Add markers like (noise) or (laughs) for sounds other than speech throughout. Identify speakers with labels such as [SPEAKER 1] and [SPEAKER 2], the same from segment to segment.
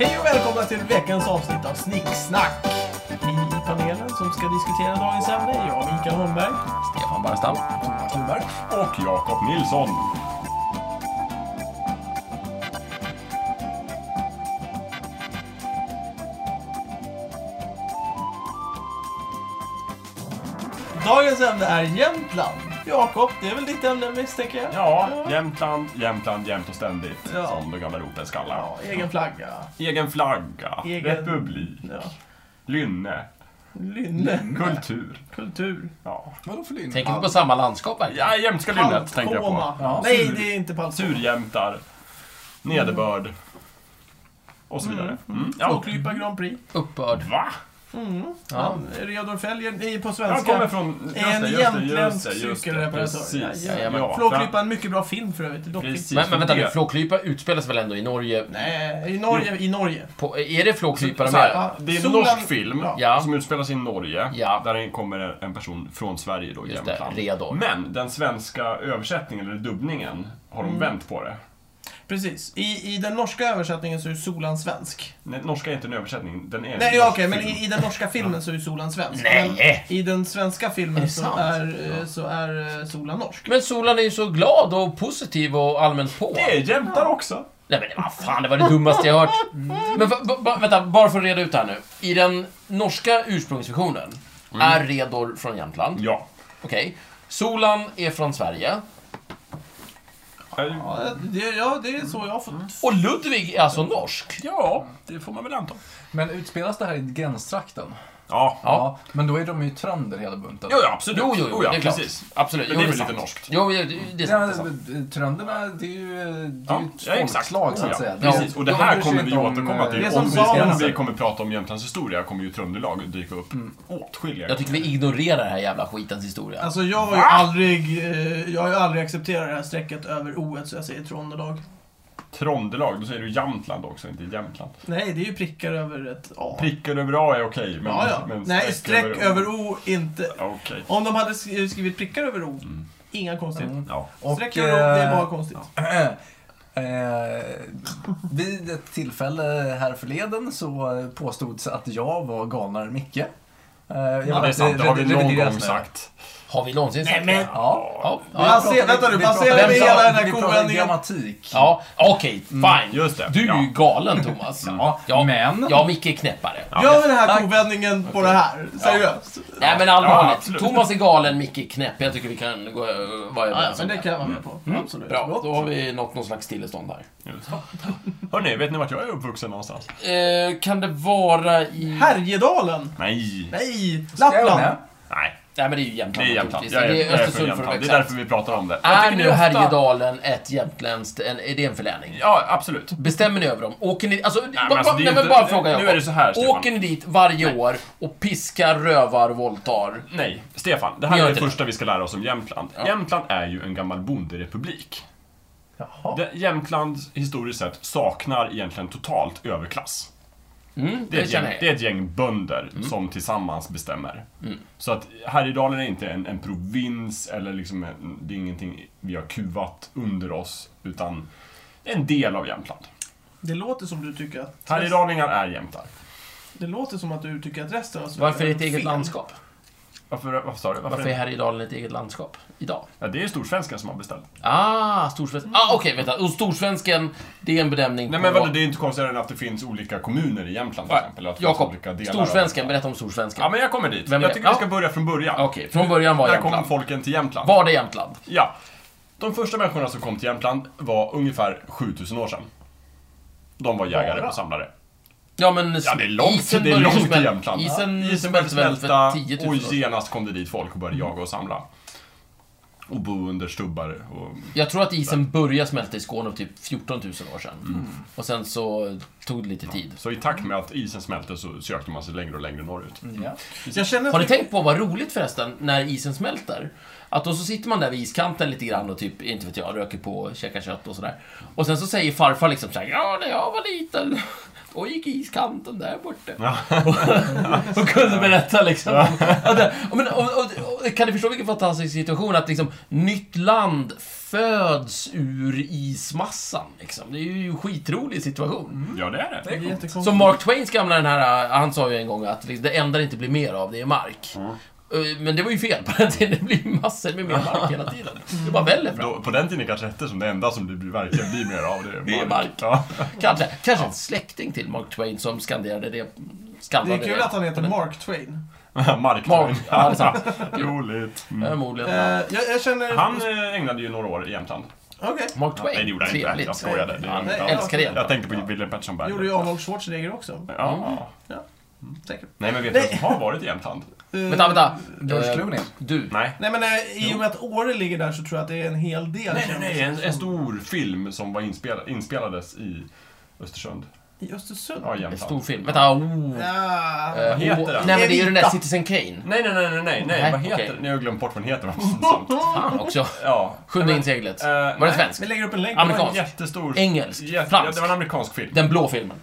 [SPEAKER 1] Hej och välkomna till veckans avsnitt av Snicksnack! I panelen som ska diskutera dagens ämne är jag, Mikael Holmberg,
[SPEAKER 2] Stefan Barstam.
[SPEAKER 1] Thomas Lundberg.
[SPEAKER 3] och Jakob Nilsson.
[SPEAKER 1] Dagens ämne är Jämtland. Jakob, det är väl ditt ämne misstänker jag?
[SPEAKER 3] Ja, Jämtland, Jämtland, jämt och ständigt.
[SPEAKER 1] Ja.
[SPEAKER 3] Som den gamla ropen skallar.
[SPEAKER 1] Ja, egen flagga.
[SPEAKER 3] Egen flagga,
[SPEAKER 1] Egen-
[SPEAKER 3] republik,
[SPEAKER 1] Ja.
[SPEAKER 3] lynne, Mm.
[SPEAKER 1] Lynne.
[SPEAKER 3] kultur.
[SPEAKER 1] Kultur.
[SPEAKER 3] Ja,
[SPEAKER 4] Vadå för lynne?
[SPEAKER 2] Tänker inte på samma landskap verkligen?
[SPEAKER 3] ja jämtska lynnet tänker jag på.
[SPEAKER 1] Paltkoma.
[SPEAKER 3] Ja.
[SPEAKER 1] Nej,
[SPEAKER 3] sur-
[SPEAKER 1] det är inte Paltkoma.
[SPEAKER 3] Surjämtar, nederbörd och så vidare. Mm. Ja.
[SPEAKER 1] Kloklypa Grand Prix.
[SPEAKER 2] Uppbörd.
[SPEAKER 3] Va?
[SPEAKER 2] Ja.
[SPEAKER 1] Han, Reodor Felger, det är på
[SPEAKER 3] Jag kommer
[SPEAKER 1] svenska.
[SPEAKER 3] från... Just
[SPEAKER 1] En
[SPEAKER 3] det, just det, just
[SPEAKER 1] jämtländsk
[SPEAKER 3] det, just det.
[SPEAKER 1] cykelreparatör.
[SPEAKER 3] Precis.
[SPEAKER 2] Jajamän.
[SPEAKER 3] Ja,
[SPEAKER 1] Flåklypa, en mycket bra film för övrigt. dockfilm.
[SPEAKER 3] Precis.
[SPEAKER 2] Men, men vänta nu,
[SPEAKER 3] det-
[SPEAKER 2] Flåklypa utspelas väl ändå i Norge?
[SPEAKER 1] Nej, i Norge. I Norge.
[SPEAKER 2] På, är det Flåklypa de
[SPEAKER 3] Så här,
[SPEAKER 2] är?
[SPEAKER 3] det är en
[SPEAKER 1] Solen-
[SPEAKER 3] norsk film
[SPEAKER 2] Ja.
[SPEAKER 3] som utspelas i Norge.
[SPEAKER 2] Ja.
[SPEAKER 3] Där kommer en person från Sverige då,
[SPEAKER 2] Just det,
[SPEAKER 3] Jämtland.
[SPEAKER 2] Reodor.
[SPEAKER 3] Men den svenska översättningen, eller dubbningen, har de vänt på det.
[SPEAKER 1] Precis. I, I den norska översättningen så är Solan svensk.
[SPEAKER 3] Nej, norska är inte en översättning, den är en
[SPEAKER 1] Nej, ja,
[SPEAKER 3] norsk
[SPEAKER 1] okej, men
[SPEAKER 3] film.
[SPEAKER 1] i, i den norska filmen så är Solan svensk.
[SPEAKER 2] Nej!
[SPEAKER 1] Men I den svenska filmen
[SPEAKER 2] Är det
[SPEAKER 1] så
[SPEAKER 2] sant?
[SPEAKER 1] är, eh, så är eh, Solan norsk.
[SPEAKER 2] Men Solan är ju så glad och positiv och allmänt på.
[SPEAKER 3] Det är jämtar också!
[SPEAKER 2] Nej men vad fan, det var det dummaste jag hört. Men va, va- va, vänta, bara för att reda ut det här nu. I den norska ursprungsvisionen
[SPEAKER 3] Mm.
[SPEAKER 2] är Redor från Jämtland.
[SPEAKER 3] Ja.
[SPEAKER 2] Okej. Solan är från Sverige.
[SPEAKER 3] Ja,
[SPEAKER 1] Ja, det, ja, det är så jag har fått...
[SPEAKER 2] Och Ludvig är alltså norsk.
[SPEAKER 3] det får man väl anta.
[SPEAKER 5] Men utspelas det här i gränstrakten?
[SPEAKER 3] Ja.
[SPEAKER 2] Ja.
[SPEAKER 5] Men då är de ju trander hela bunten.
[SPEAKER 3] Jo, ja, absolut.
[SPEAKER 2] Jo, jo, jo,
[SPEAKER 3] Oh, ja,
[SPEAKER 2] det är klart.
[SPEAKER 3] Precis.
[SPEAKER 2] Absolut.
[SPEAKER 3] Men
[SPEAKER 2] jo,
[SPEAKER 3] det är väl
[SPEAKER 2] sant.
[SPEAKER 3] lite norskt?
[SPEAKER 2] Jo, jo, det- det är sant. Det är sant.
[SPEAKER 5] Ja, eh, trönderna, det är ju, eh, det är
[SPEAKER 3] Ja,
[SPEAKER 5] ju ett
[SPEAKER 3] ja, exakt.
[SPEAKER 5] folkslag så
[SPEAKER 3] Oh, ja.
[SPEAKER 5] att säga. Det är-
[SPEAKER 3] Precis, och det
[SPEAKER 5] de
[SPEAKER 3] här
[SPEAKER 5] bryr sig
[SPEAKER 3] kommer vi
[SPEAKER 5] inte om,
[SPEAKER 3] återkomma till.
[SPEAKER 1] Det är
[SPEAKER 5] eh,
[SPEAKER 1] som
[SPEAKER 3] Om vi, om
[SPEAKER 1] samerna.
[SPEAKER 3] vi kommer prata om Jämtlands historia kommer ju Tröndelag dyka upp åtskilliga
[SPEAKER 2] Jag tycker vi ignorerar den här jävla skitens historia.
[SPEAKER 1] Alltså jag har ju aldrig, eh, jag har ju aldrig accepterat det här strecket över o så jag säger Trondelag.
[SPEAKER 3] Trondelag, då säger du Jämtland också, inte Jämtland.
[SPEAKER 1] Nej, det är ju prickar över ett A.
[SPEAKER 3] Prickar över A är okej, men...
[SPEAKER 1] ja, ja.
[SPEAKER 3] men
[SPEAKER 1] Nej, streck över O, inte...
[SPEAKER 3] Ja, Okej.
[SPEAKER 1] Om de hade sk- skrivit prickar över O, inga konstigheter.
[SPEAKER 3] Ja.
[SPEAKER 5] Och,
[SPEAKER 1] Streck över O, det är
[SPEAKER 5] eh,
[SPEAKER 1] bara konstigt.
[SPEAKER 5] (clears throat) eh, Vid ett tillfälle här förleden så eh, påstods att jag var galnare än Micke. Eh, Jag
[SPEAKER 3] Ja, det är sant. Det har vi någon gång sagt.
[SPEAKER 2] Har vi någonsin sagt
[SPEAKER 1] men-
[SPEAKER 2] det?
[SPEAKER 5] Ja.
[SPEAKER 2] Ja, ja,
[SPEAKER 1] Ja. Baser- vänta nu, baserar vi hela den här kovändningen-
[SPEAKER 5] Vi grammatik.
[SPEAKER 2] ja okej, fine.
[SPEAKER 3] Mm, Just det,
[SPEAKER 2] Du är ju
[SPEAKER 3] ja. Mm.
[SPEAKER 2] galen, Thomas.
[SPEAKER 5] Ja, men...
[SPEAKER 2] Ja, Micke är knäppare.
[SPEAKER 1] Gör vi den här kovändningen på det här? Seriöst?
[SPEAKER 2] Nej, men
[SPEAKER 3] Ja,
[SPEAKER 2] allvarligt.
[SPEAKER 3] absolut.
[SPEAKER 2] Thomas är galen, Micke är knäpp. Jag tycker vi kan gå, ö, vara
[SPEAKER 1] Ja, ja,
[SPEAKER 2] överens
[SPEAKER 1] men
[SPEAKER 2] om
[SPEAKER 1] det
[SPEAKER 2] det.
[SPEAKER 1] kan jag vara med på. Absolut.
[SPEAKER 2] Bra, då har vi nått någon slags stillestånd här.
[SPEAKER 3] Just det. Hörrni, vet ni vart jag är uppvuxen någonstans?
[SPEAKER 2] Eh, kan det vara i...
[SPEAKER 1] Härjedalen?
[SPEAKER 3] Nej.
[SPEAKER 1] Nej,
[SPEAKER 5] Skåne.
[SPEAKER 1] Lappland.
[SPEAKER 3] Nej.
[SPEAKER 2] Nej, men det är ju
[SPEAKER 3] Det är
[SPEAKER 2] Jämtland
[SPEAKER 3] Jämtland.
[SPEAKER 2] naturligtvis.
[SPEAKER 3] Jag är,
[SPEAKER 2] det
[SPEAKER 3] jag
[SPEAKER 2] är
[SPEAKER 3] är från
[SPEAKER 2] Östersund för att vara
[SPEAKER 3] Jämtland. Det är
[SPEAKER 2] exakt.
[SPEAKER 3] därför vi pratar om det.
[SPEAKER 2] Är
[SPEAKER 1] tycker
[SPEAKER 2] nu
[SPEAKER 1] ni ofta-
[SPEAKER 2] Härjedalen ett jämtländskt... En, är det en förläning?
[SPEAKER 3] Ja, absolut.
[SPEAKER 2] Bestämmer ni över dem? Åker ni... Alltså, nej,
[SPEAKER 3] men alltså, det är
[SPEAKER 2] nej,
[SPEAKER 3] ju
[SPEAKER 2] men
[SPEAKER 3] inte-
[SPEAKER 2] bara fråga
[SPEAKER 3] nu
[SPEAKER 2] Jakob.
[SPEAKER 3] är det så här, Stefan.
[SPEAKER 2] Åker ni dit varje år och piskar, rövar, våldtar?
[SPEAKER 3] Nej, Stefan. Det
[SPEAKER 2] Vi
[SPEAKER 3] här
[SPEAKER 2] gör
[SPEAKER 3] är det
[SPEAKER 2] inte det.
[SPEAKER 3] första vi ska lära oss om Jämtland. Jämtland är ju en gammal bonderepublik.
[SPEAKER 5] Jaha.
[SPEAKER 3] Det- Jämtland, historiskt sett, saknar egentligen totalt överklass.
[SPEAKER 2] Mm,
[SPEAKER 3] Det är, ett gäng,
[SPEAKER 2] känner jag.
[SPEAKER 3] det är ett gäng bönder
[SPEAKER 2] Mm.
[SPEAKER 3] som tillsammans bestämmer. Så att Härjedalen är inte en, en provins eller liksom en, det är ingenting vi har kuvat under oss, utan en del av Jämtland.
[SPEAKER 1] Det låter som du tycker att...
[SPEAKER 3] Härjedalingar är jämtar.
[SPEAKER 1] Det låter som att du tycker att resten av Sverige
[SPEAKER 2] Varför är det ett
[SPEAKER 1] fel.
[SPEAKER 2] eget landskap?
[SPEAKER 3] Varför, varför sa du? Varför,
[SPEAKER 2] Varför är Härjedalen ett eget landskap? Idag?
[SPEAKER 3] ja, det är storsvenskan som har beställt.
[SPEAKER 2] Ah, Storsvensken. Ah, okej, vänta. Och Storsvensken, det är en benämning
[SPEAKER 3] Nej men vadå, det är inte konstigare än att det finns olika kommuner i Jämtland till exempel. eller att det finns
[SPEAKER 2] Jakob,
[SPEAKER 3] olika delar av-
[SPEAKER 2] Storsvensken. Berätta om Storsvensken.
[SPEAKER 3] Ja men jag kommer dit.
[SPEAKER 2] Vem är
[SPEAKER 3] jag
[SPEAKER 2] det?
[SPEAKER 3] tycker vi
[SPEAKER 2] Ja.
[SPEAKER 3] ska börja från början.
[SPEAKER 2] Okej, från början var
[SPEAKER 3] När kom
[SPEAKER 2] Jämtland.
[SPEAKER 3] folken till Jämtland?
[SPEAKER 2] Var det Jämtland?
[SPEAKER 3] Ja. De första människorna som kom till Jämtland var ungefär 7000 år sedan. De var jägare och samlare.
[SPEAKER 2] Ja, men
[SPEAKER 3] Ja, det är långt,
[SPEAKER 2] isen
[SPEAKER 3] det är
[SPEAKER 2] började ju
[SPEAKER 3] långt till
[SPEAKER 2] smäl-
[SPEAKER 3] Jämtland.
[SPEAKER 2] Isen,
[SPEAKER 3] Isen började
[SPEAKER 2] smälte väl för
[SPEAKER 3] smälta
[SPEAKER 2] 10 000
[SPEAKER 3] och
[SPEAKER 2] år sedan.
[SPEAKER 3] genast kom det dit folk och började jaga och samla. Och bo under stubbar och...
[SPEAKER 2] Jag tror att isen började smälta i Skåne för typ 14 000 år sedan.
[SPEAKER 3] Mm.
[SPEAKER 2] Och sen så tog det lite tid.
[SPEAKER 3] Så i takt med att isen smälte så sökte man sig längre och längre norrut.
[SPEAKER 2] Mm.
[SPEAKER 5] Ja.
[SPEAKER 1] Jag känner att
[SPEAKER 2] Har ni
[SPEAKER 1] vi-
[SPEAKER 2] tänkt på vad roligt förresten, när isen smälter? Att då så sitter man där vid iskanten lite grann och typ, inte vet jag, röker på, käkar kött och sådär. Och sen så säger farfar liksom såhär, ja när jag var liten. (laughs) och gick i iskanten där borta.
[SPEAKER 3] Ja.
[SPEAKER 2] (laughs) och kunde berätta liksom. om- Att, det- ja, men, och, och, och, kan ni förstå vilken fantastisk situation att liksom nytt land föds ur ismassan liksom. Det är ju en skitrolig situation.
[SPEAKER 3] Ja, det är det.
[SPEAKER 1] Det är jättekonstigt.
[SPEAKER 2] Som Mark Twains gamla den här, äh, han sa ju en gång att liksom, det enda det inte blir mer av, det är mark. Äh, Men det var ju fel (laughs) på den tiden, det blir massor med mer mark hela
[SPEAKER 3] (laughs)
[SPEAKER 2] tiden. Det bara väller fram.
[SPEAKER 3] Då, på den tiden kanske hette som det enda som det blir, verkligen blir mer av det.
[SPEAKER 2] Det är mark.
[SPEAKER 3] Ja.
[SPEAKER 2] Kanske, kanske en släkting till Mark Twain som skanderade det.
[SPEAKER 1] Det
[SPEAKER 2] Skaldade
[SPEAKER 1] är kul att han heter Mark Twain.
[SPEAKER 3] (laughs) Mark.
[SPEAKER 2] Mark, ja det är sant.
[SPEAKER 3] Roligt. Mm.
[SPEAKER 2] Förmodligen.
[SPEAKER 1] Eh, jag, jag känner...
[SPEAKER 3] Han eh, ägnade ju några år i Jämtland.
[SPEAKER 1] Okej.
[SPEAKER 2] Mark Twain,
[SPEAKER 3] Nej, det gjorde han inte.
[SPEAKER 2] trevligt.
[SPEAKER 3] Jag skojade. Det
[SPEAKER 2] Ja,
[SPEAKER 3] gjorde
[SPEAKER 2] jag
[SPEAKER 3] han
[SPEAKER 2] älskar
[SPEAKER 3] inte.
[SPEAKER 2] det.
[SPEAKER 3] Jag tänkte på Wilhelm Pettersson Berg.
[SPEAKER 1] Gjorde ju Arnold Schwarzenegger också.
[SPEAKER 3] Ja.
[SPEAKER 1] Säkert.
[SPEAKER 3] Nej, men vet du
[SPEAKER 1] Nej.
[SPEAKER 3] vem som har varit i Jämtland?
[SPEAKER 1] Eh,
[SPEAKER 2] Vänta, vänta.
[SPEAKER 5] George
[SPEAKER 2] Eh,
[SPEAKER 5] Clooney.
[SPEAKER 2] Du.
[SPEAKER 3] Nej.
[SPEAKER 1] Nej men eh, i och med att Åre ligger där så tror jag att det är en hel del
[SPEAKER 3] Nej, nej, nej. En,
[SPEAKER 1] kändisar
[SPEAKER 3] en
[SPEAKER 1] som-
[SPEAKER 3] stor film som var inspelad, inspelades i Östersund.
[SPEAKER 1] I Östersund? Ah.
[SPEAKER 3] Ja, i
[SPEAKER 2] En
[SPEAKER 3] Jämtland.
[SPEAKER 2] stor film. Vänta, oh.
[SPEAKER 1] Ja.
[SPEAKER 2] Eh,
[SPEAKER 3] heter
[SPEAKER 2] oh.
[SPEAKER 3] den?
[SPEAKER 2] Nej men det är ju den där
[SPEAKER 1] Evita.
[SPEAKER 2] Citizen Kane.
[SPEAKER 3] Nej, nej, nej, nej, nej, nej.
[SPEAKER 2] Nej,
[SPEAKER 3] Vad heter
[SPEAKER 2] okej.
[SPEAKER 3] den? Nu har jag glömt bort vad den heter. Vad pinsamt. (laughs)
[SPEAKER 2] Fan också.
[SPEAKER 3] Ja.
[SPEAKER 2] Sjunde in seglet.
[SPEAKER 3] Eh,
[SPEAKER 2] Var det
[SPEAKER 3] nej,
[SPEAKER 2] svensk?
[SPEAKER 1] Vi lägger upp en länk.
[SPEAKER 2] Amerikan.
[SPEAKER 3] En jättestor...
[SPEAKER 2] Engelsk?
[SPEAKER 3] Jätte- ja,
[SPEAKER 2] Fransk?
[SPEAKER 3] det var en amerikansk film.
[SPEAKER 2] Den blå filmen.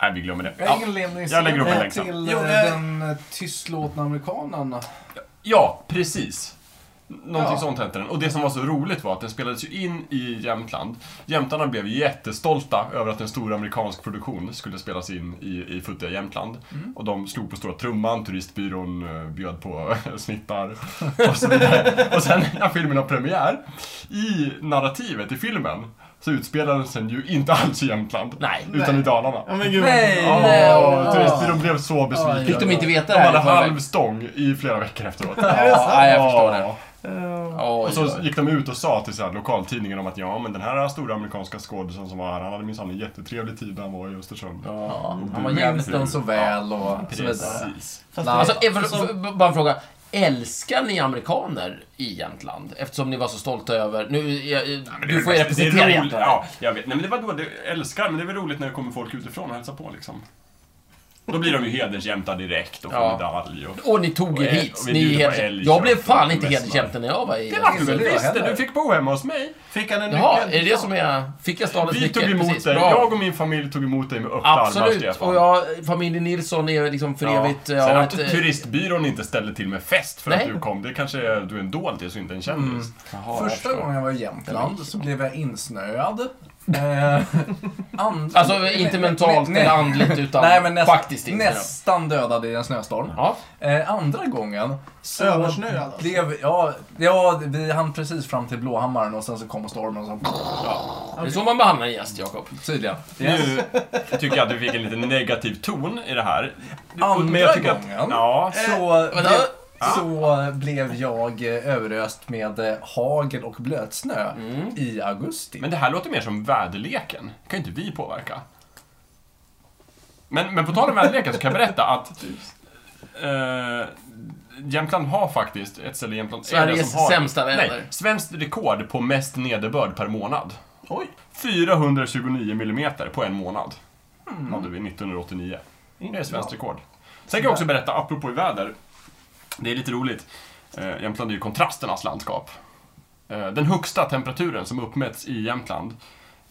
[SPEAKER 3] Nej, vi glömmer det.
[SPEAKER 5] Jag har ingen ledning
[SPEAKER 3] Jag lägger upp en
[SPEAKER 5] Eh,
[SPEAKER 3] länk sen.
[SPEAKER 5] till
[SPEAKER 1] Jo,
[SPEAKER 5] eh,
[SPEAKER 1] eh,
[SPEAKER 5] den eh, tystlåtna amerikanen.
[SPEAKER 3] Ja, precis. Någonting
[SPEAKER 5] Ja.
[SPEAKER 3] sånt hette den. Och det som var så roligt var att den spelades ju in i Jämtland. Jämtarna blev jättestolta över att en stor amerikansk produktion skulle spelas in i, i futtiga Jämtland. Och de slog på stora trumman, turistbyrån eh, bjöd på (laughs) snittar och så vidare. Och sen när filmen har premiär, i narrativet i filmen, så utspelades den ju inte alls i Jämtland.
[SPEAKER 2] Nej.
[SPEAKER 3] Utan i Dalarna.
[SPEAKER 1] Ja men gud.
[SPEAKER 5] Nej.
[SPEAKER 3] Åh,
[SPEAKER 2] Nej, åh.
[SPEAKER 3] turistbyrån blev så besviken.
[SPEAKER 2] Fick de inte veta det
[SPEAKER 3] De
[SPEAKER 2] här
[SPEAKER 3] hade
[SPEAKER 2] i förväg?
[SPEAKER 3] halv stång i flera veckor efteråt.
[SPEAKER 2] Ja, nej, jag förstår det.
[SPEAKER 3] Ja.
[SPEAKER 1] Eh,
[SPEAKER 2] Oj,
[SPEAKER 3] Och så
[SPEAKER 2] oj.
[SPEAKER 3] gick de ut och sa till så här lokaltidningen om att ja, men den här stora amerikanska skådisen som var här, han hade minsann en jättetrevlig tid när han var i Östersund.
[SPEAKER 2] Ja,
[SPEAKER 3] Och
[SPEAKER 2] han var
[SPEAKER 3] du-
[SPEAKER 5] Minns
[SPEAKER 2] jävligt
[SPEAKER 5] den så väl och så vidare.
[SPEAKER 3] Precis.
[SPEAKER 1] fast
[SPEAKER 5] Nej.
[SPEAKER 1] det-
[SPEAKER 2] Alltså, ev- b- bara en fråga. Älskar ni amerikaner i Jämtland? Eftersom ni var så stolta över... Nu, jag, du får ju representera
[SPEAKER 3] det är roligt.
[SPEAKER 2] Jämtland.
[SPEAKER 3] Ja, jag vet. Nej, men det var då det älskar, men det är väl roligt när det kommer folk utifrån och hälsar på liksom. Då blir de ju hedersjämtar direkt och får
[SPEAKER 2] Ja,
[SPEAKER 3] medalj och...
[SPEAKER 2] Och ni tog er
[SPEAKER 3] Och ä-
[SPEAKER 2] hit.
[SPEAKER 3] Eh, och vi
[SPEAKER 2] Ni
[SPEAKER 3] bjuder på
[SPEAKER 2] hedersjämtar.
[SPEAKER 3] älg,
[SPEAKER 2] Jag blev
[SPEAKER 3] köttbullar
[SPEAKER 2] fan
[SPEAKER 3] och
[SPEAKER 2] inte
[SPEAKER 3] mässlar.
[SPEAKER 2] hedersjämte när jag var i...
[SPEAKER 3] Det var du
[SPEAKER 5] det
[SPEAKER 3] väl
[SPEAKER 5] var
[SPEAKER 3] visst?
[SPEAKER 5] heller.
[SPEAKER 3] Du fick bo hemma hos mig.
[SPEAKER 1] Fick han en
[SPEAKER 2] Jaha,
[SPEAKER 1] nyckel?
[SPEAKER 2] är det det som är... Fick jag stadens
[SPEAKER 3] Vi
[SPEAKER 2] nyckel?
[SPEAKER 3] tog emot
[SPEAKER 2] Precis,
[SPEAKER 3] dig.
[SPEAKER 2] bra.
[SPEAKER 3] Jag och min familj tog emot dig med öppna armar,
[SPEAKER 2] Absolut.
[SPEAKER 3] Stefan.
[SPEAKER 2] Och jag, familjen Nilsson är liksom för evigt... eh,
[SPEAKER 3] Sen
[SPEAKER 2] har
[SPEAKER 3] att
[SPEAKER 2] ett, eh,
[SPEAKER 3] turistbyrån inte ställde till med fest för
[SPEAKER 2] Nej. Mm.
[SPEAKER 3] att du kom, det kanske är, du är en doldis och inte en kändis.
[SPEAKER 5] Första gången jag var i Jämtland så blev jag insnöad.
[SPEAKER 1] (laughs)
[SPEAKER 5] Eh, and-
[SPEAKER 2] Alltså, inte mentalt
[SPEAKER 5] Nej,
[SPEAKER 2] eller andligt, utan
[SPEAKER 5] Nej, men näst,
[SPEAKER 2] faktiskt inte.
[SPEAKER 5] nästan dödad i en snöstorm.
[SPEAKER 2] Ja.
[SPEAKER 5] Eh, andra gången så
[SPEAKER 1] Översnöad, alltså.
[SPEAKER 5] blev, ja, ja, vi hann precis fram till Blåhammaren och sen så kom stormen och så,
[SPEAKER 2] Det är så man behandlar en gäst, Jakob.
[SPEAKER 5] tydligen.
[SPEAKER 3] Nu tycker jag att du fick en lite negativ ton i det här.
[SPEAKER 5] Andra
[SPEAKER 3] Men jag tycker att-
[SPEAKER 5] gången.
[SPEAKER 3] Ja.
[SPEAKER 2] Eh,
[SPEAKER 5] Så,
[SPEAKER 2] vänta.
[SPEAKER 5] blev, så blev jag eh, överöst med eh, hagel och blötsnö
[SPEAKER 2] Mm.
[SPEAKER 5] i augusti.
[SPEAKER 3] Men det här låter mer som väderleken. Det kan ju inte vi påverka. Men, men på tal om väderleken så kan jag berätta att eh, Jämtland har faktiskt ett ställe i Jämtland. är det
[SPEAKER 2] Sveriges sämsta väder.
[SPEAKER 3] Nej, svenskt rekord på mest nederbörd per månad.
[SPEAKER 1] Oj,
[SPEAKER 3] 429 millimeter på en månad.
[SPEAKER 2] Hmm.
[SPEAKER 3] Hade vi 1989. Det är svenskt rekord. Sen kan jag också berätta, apropå i väder. Det är lite roligt. Eh, Jämtland är ju kontrasternas landskap. Eh, den högsta temperaturen som uppmätts i Jämtland.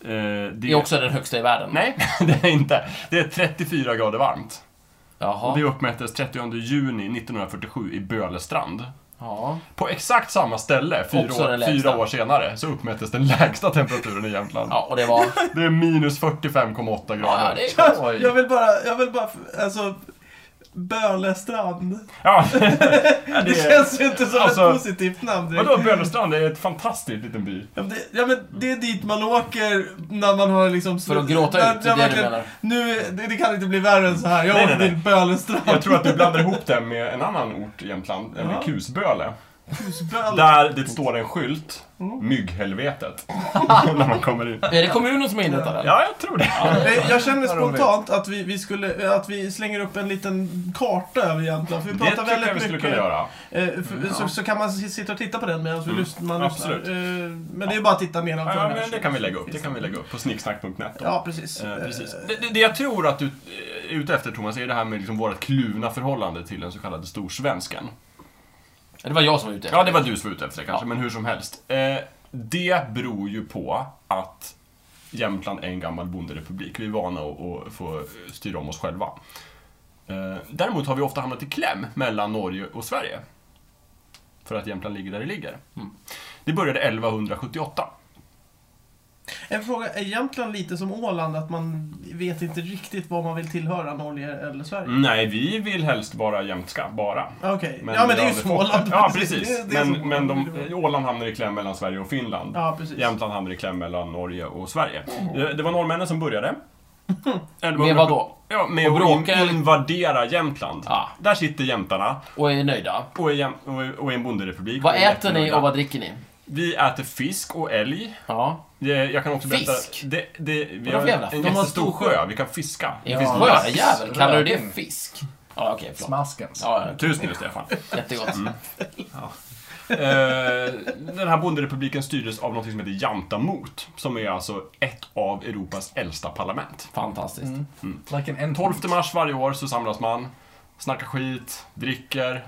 [SPEAKER 3] eh, det
[SPEAKER 2] Det är också den högsta i världen.
[SPEAKER 3] Nej, (laughs) det är inte. Det är 34 grader varmt. Och det
[SPEAKER 2] Jaha.
[SPEAKER 3] uppmättes 30 juni 1947 i Bölestrand.
[SPEAKER 2] Ja.
[SPEAKER 3] På exakt samma ställe, fyra
[SPEAKER 2] Också den
[SPEAKER 3] år,
[SPEAKER 2] lägsta.
[SPEAKER 3] fyra år senare, så uppmättes den (laughs) lägsta temperaturen i Jämtland.
[SPEAKER 2] ja, och det var...
[SPEAKER 3] Det är minus 45,8
[SPEAKER 2] (laughs)
[SPEAKER 3] grader.
[SPEAKER 2] Ja, ja, det är
[SPEAKER 5] Oj.
[SPEAKER 1] jag vill bara, jag vill bara, alltså... Bölestrand.
[SPEAKER 3] Ja,
[SPEAKER 1] (laughs) Det känns ju inte som
[SPEAKER 3] alltså-
[SPEAKER 1] ett positivt namn direkt.
[SPEAKER 3] vadå Bölestrand är ett fantastiskt liten by.
[SPEAKER 1] Ja men, det, ja men det är dit man åker när man har liksom...
[SPEAKER 2] För att gråta
[SPEAKER 1] när-
[SPEAKER 2] ut, det
[SPEAKER 1] när
[SPEAKER 2] är det du
[SPEAKER 1] verkligen-
[SPEAKER 2] menar.
[SPEAKER 1] Nu, det, det kan inte bli värre än så här. Jag
[SPEAKER 3] Nej,
[SPEAKER 1] åker
[SPEAKER 3] nej,
[SPEAKER 1] till Bölestrand.
[SPEAKER 3] Jag tror att du blandar ihop det med en annan ort i Jämtland,
[SPEAKER 1] Ja.
[SPEAKER 3] nämligen Kusböle.
[SPEAKER 1] Böl-
[SPEAKER 3] Där det står en skylt,
[SPEAKER 1] Mm. (laughs)
[SPEAKER 3] mygghelvetet, när man kommer in.
[SPEAKER 2] Är det kommunen som har inrättat den?
[SPEAKER 3] Ja, jag tror det.
[SPEAKER 1] Nej, Jag känner
[SPEAKER 5] Vad roligt.
[SPEAKER 1] spontant att vi, vi skulle, att vi slänger upp en liten karta över Jämtland. För vi
[SPEAKER 3] Det
[SPEAKER 1] pratar
[SPEAKER 3] tycker jag vi
[SPEAKER 1] väldigt
[SPEAKER 3] skulle
[SPEAKER 1] mycket.
[SPEAKER 3] kunna göra.
[SPEAKER 1] Eh, för, så, så kan man s- sitta och titta på den medan vi lyssn- man
[SPEAKER 3] Ja,
[SPEAKER 1] lyssnar.
[SPEAKER 3] Mm, absolut.
[SPEAKER 1] Eh, men det är bara att titta nedanför.
[SPEAKER 3] Ja,
[SPEAKER 1] här.
[SPEAKER 3] men det kan vi lägga upp. Det kan vi lägga upp på snicksnack.net. då.
[SPEAKER 1] Ja, precis.
[SPEAKER 3] Eh, precis. Det, det, det jag tror att du eh, är ute efter Thomas är det här med liksom vårt kluvna förhållande till den så kallade storsvensken.
[SPEAKER 2] Det var jag som var ute efter
[SPEAKER 3] Ja, det var du som var ute efter det kanske,
[SPEAKER 2] Ja.
[SPEAKER 3] men hur som helst. Eh, det beror ju på att Jämtland är en gammal bonderepublik. Vi är vana att, att få styra om oss själva. Eh, Däremot har vi ofta hamnat i kläm mellan Norge och Sverige. För att Jämtland ligger där det ligger. Det började 1178.
[SPEAKER 1] En fråga, är Jämtland lite som Åland, att man vet inte riktigt vad man vill tillhöra, Norge eller Sverige? Ah,
[SPEAKER 3] Nej, vi vill helst vara jämtska, bara.
[SPEAKER 1] Okej, ja men det är ju
[SPEAKER 3] vi har aldrig fått
[SPEAKER 1] Småland.
[SPEAKER 3] det. Ja, precis.
[SPEAKER 1] (laughs) Det- det är
[SPEAKER 3] Men,
[SPEAKER 1] Småland.
[SPEAKER 3] men de, Åland hamnar i kläm mellan Sverige och Finland.
[SPEAKER 1] Ja, precis.
[SPEAKER 3] Jämtland hamnar i kläm mellan Norge och Sverige. Det, det var norrmännen
[SPEAKER 1] (laughs)
[SPEAKER 3] som började.
[SPEAKER 2] Med vad då?
[SPEAKER 3] Ja, med
[SPEAKER 2] Och
[SPEAKER 3] att in,
[SPEAKER 2] bråka eller-
[SPEAKER 3] invadera Jämtland.
[SPEAKER 2] Ja.
[SPEAKER 3] Där sitter jämtarna
[SPEAKER 2] Och är nöjda.
[SPEAKER 3] och är, jäm, och är, och är en bonderepublik.
[SPEAKER 2] Vad
[SPEAKER 3] och är
[SPEAKER 2] äter ni
[SPEAKER 3] jättenöjda.
[SPEAKER 2] och vad dricker ni?
[SPEAKER 3] Vi äter fisk och älg.
[SPEAKER 2] Ja.
[SPEAKER 3] Det, jag kan också berätta...
[SPEAKER 2] Fisk?
[SPEAKER 3] Det, det, vi
[SPEAKER 2] Vadå
[SPEAKER 3] har
[SPEAKER 2] för jävla-
[SPEAKER 3] en
[SPEAKER 2] de har
[SPEAKER 3] jättestor
[SPEAKER 1] stor
[SPEAKER 3] sjö, vi kan fiska.
[SPEAKER 2] En
[SPEAKER 5] finns
[SPEAKER 2] sjöjävel,
[SPEAKER 5] lax,
[SPEAKER 2] kallar du det
[SPEAKER 5] röding.
[SPEAKER 2] fisk? Ja, okej, förlåt.
[SPEAKER 5] Smaskens.
[SPEAKER 2] Ja, ja,
[SPEAKER 3] Tusen nu, Stefan.
[SPEAKER 2] jättegott.
[SPEAKER 3] Eh, den här bonderepubliken styrdes av något som heter Jantamot, som är alltså ett av Europas äldsta parlament.
[SPEAKER 2] Fantastiskt.
[SPEAKER 5] Like an
[SPEAKER 2] Mm.
[SPEAKER 3] 12 mars varje år så samlas man, snackar skit, dricker.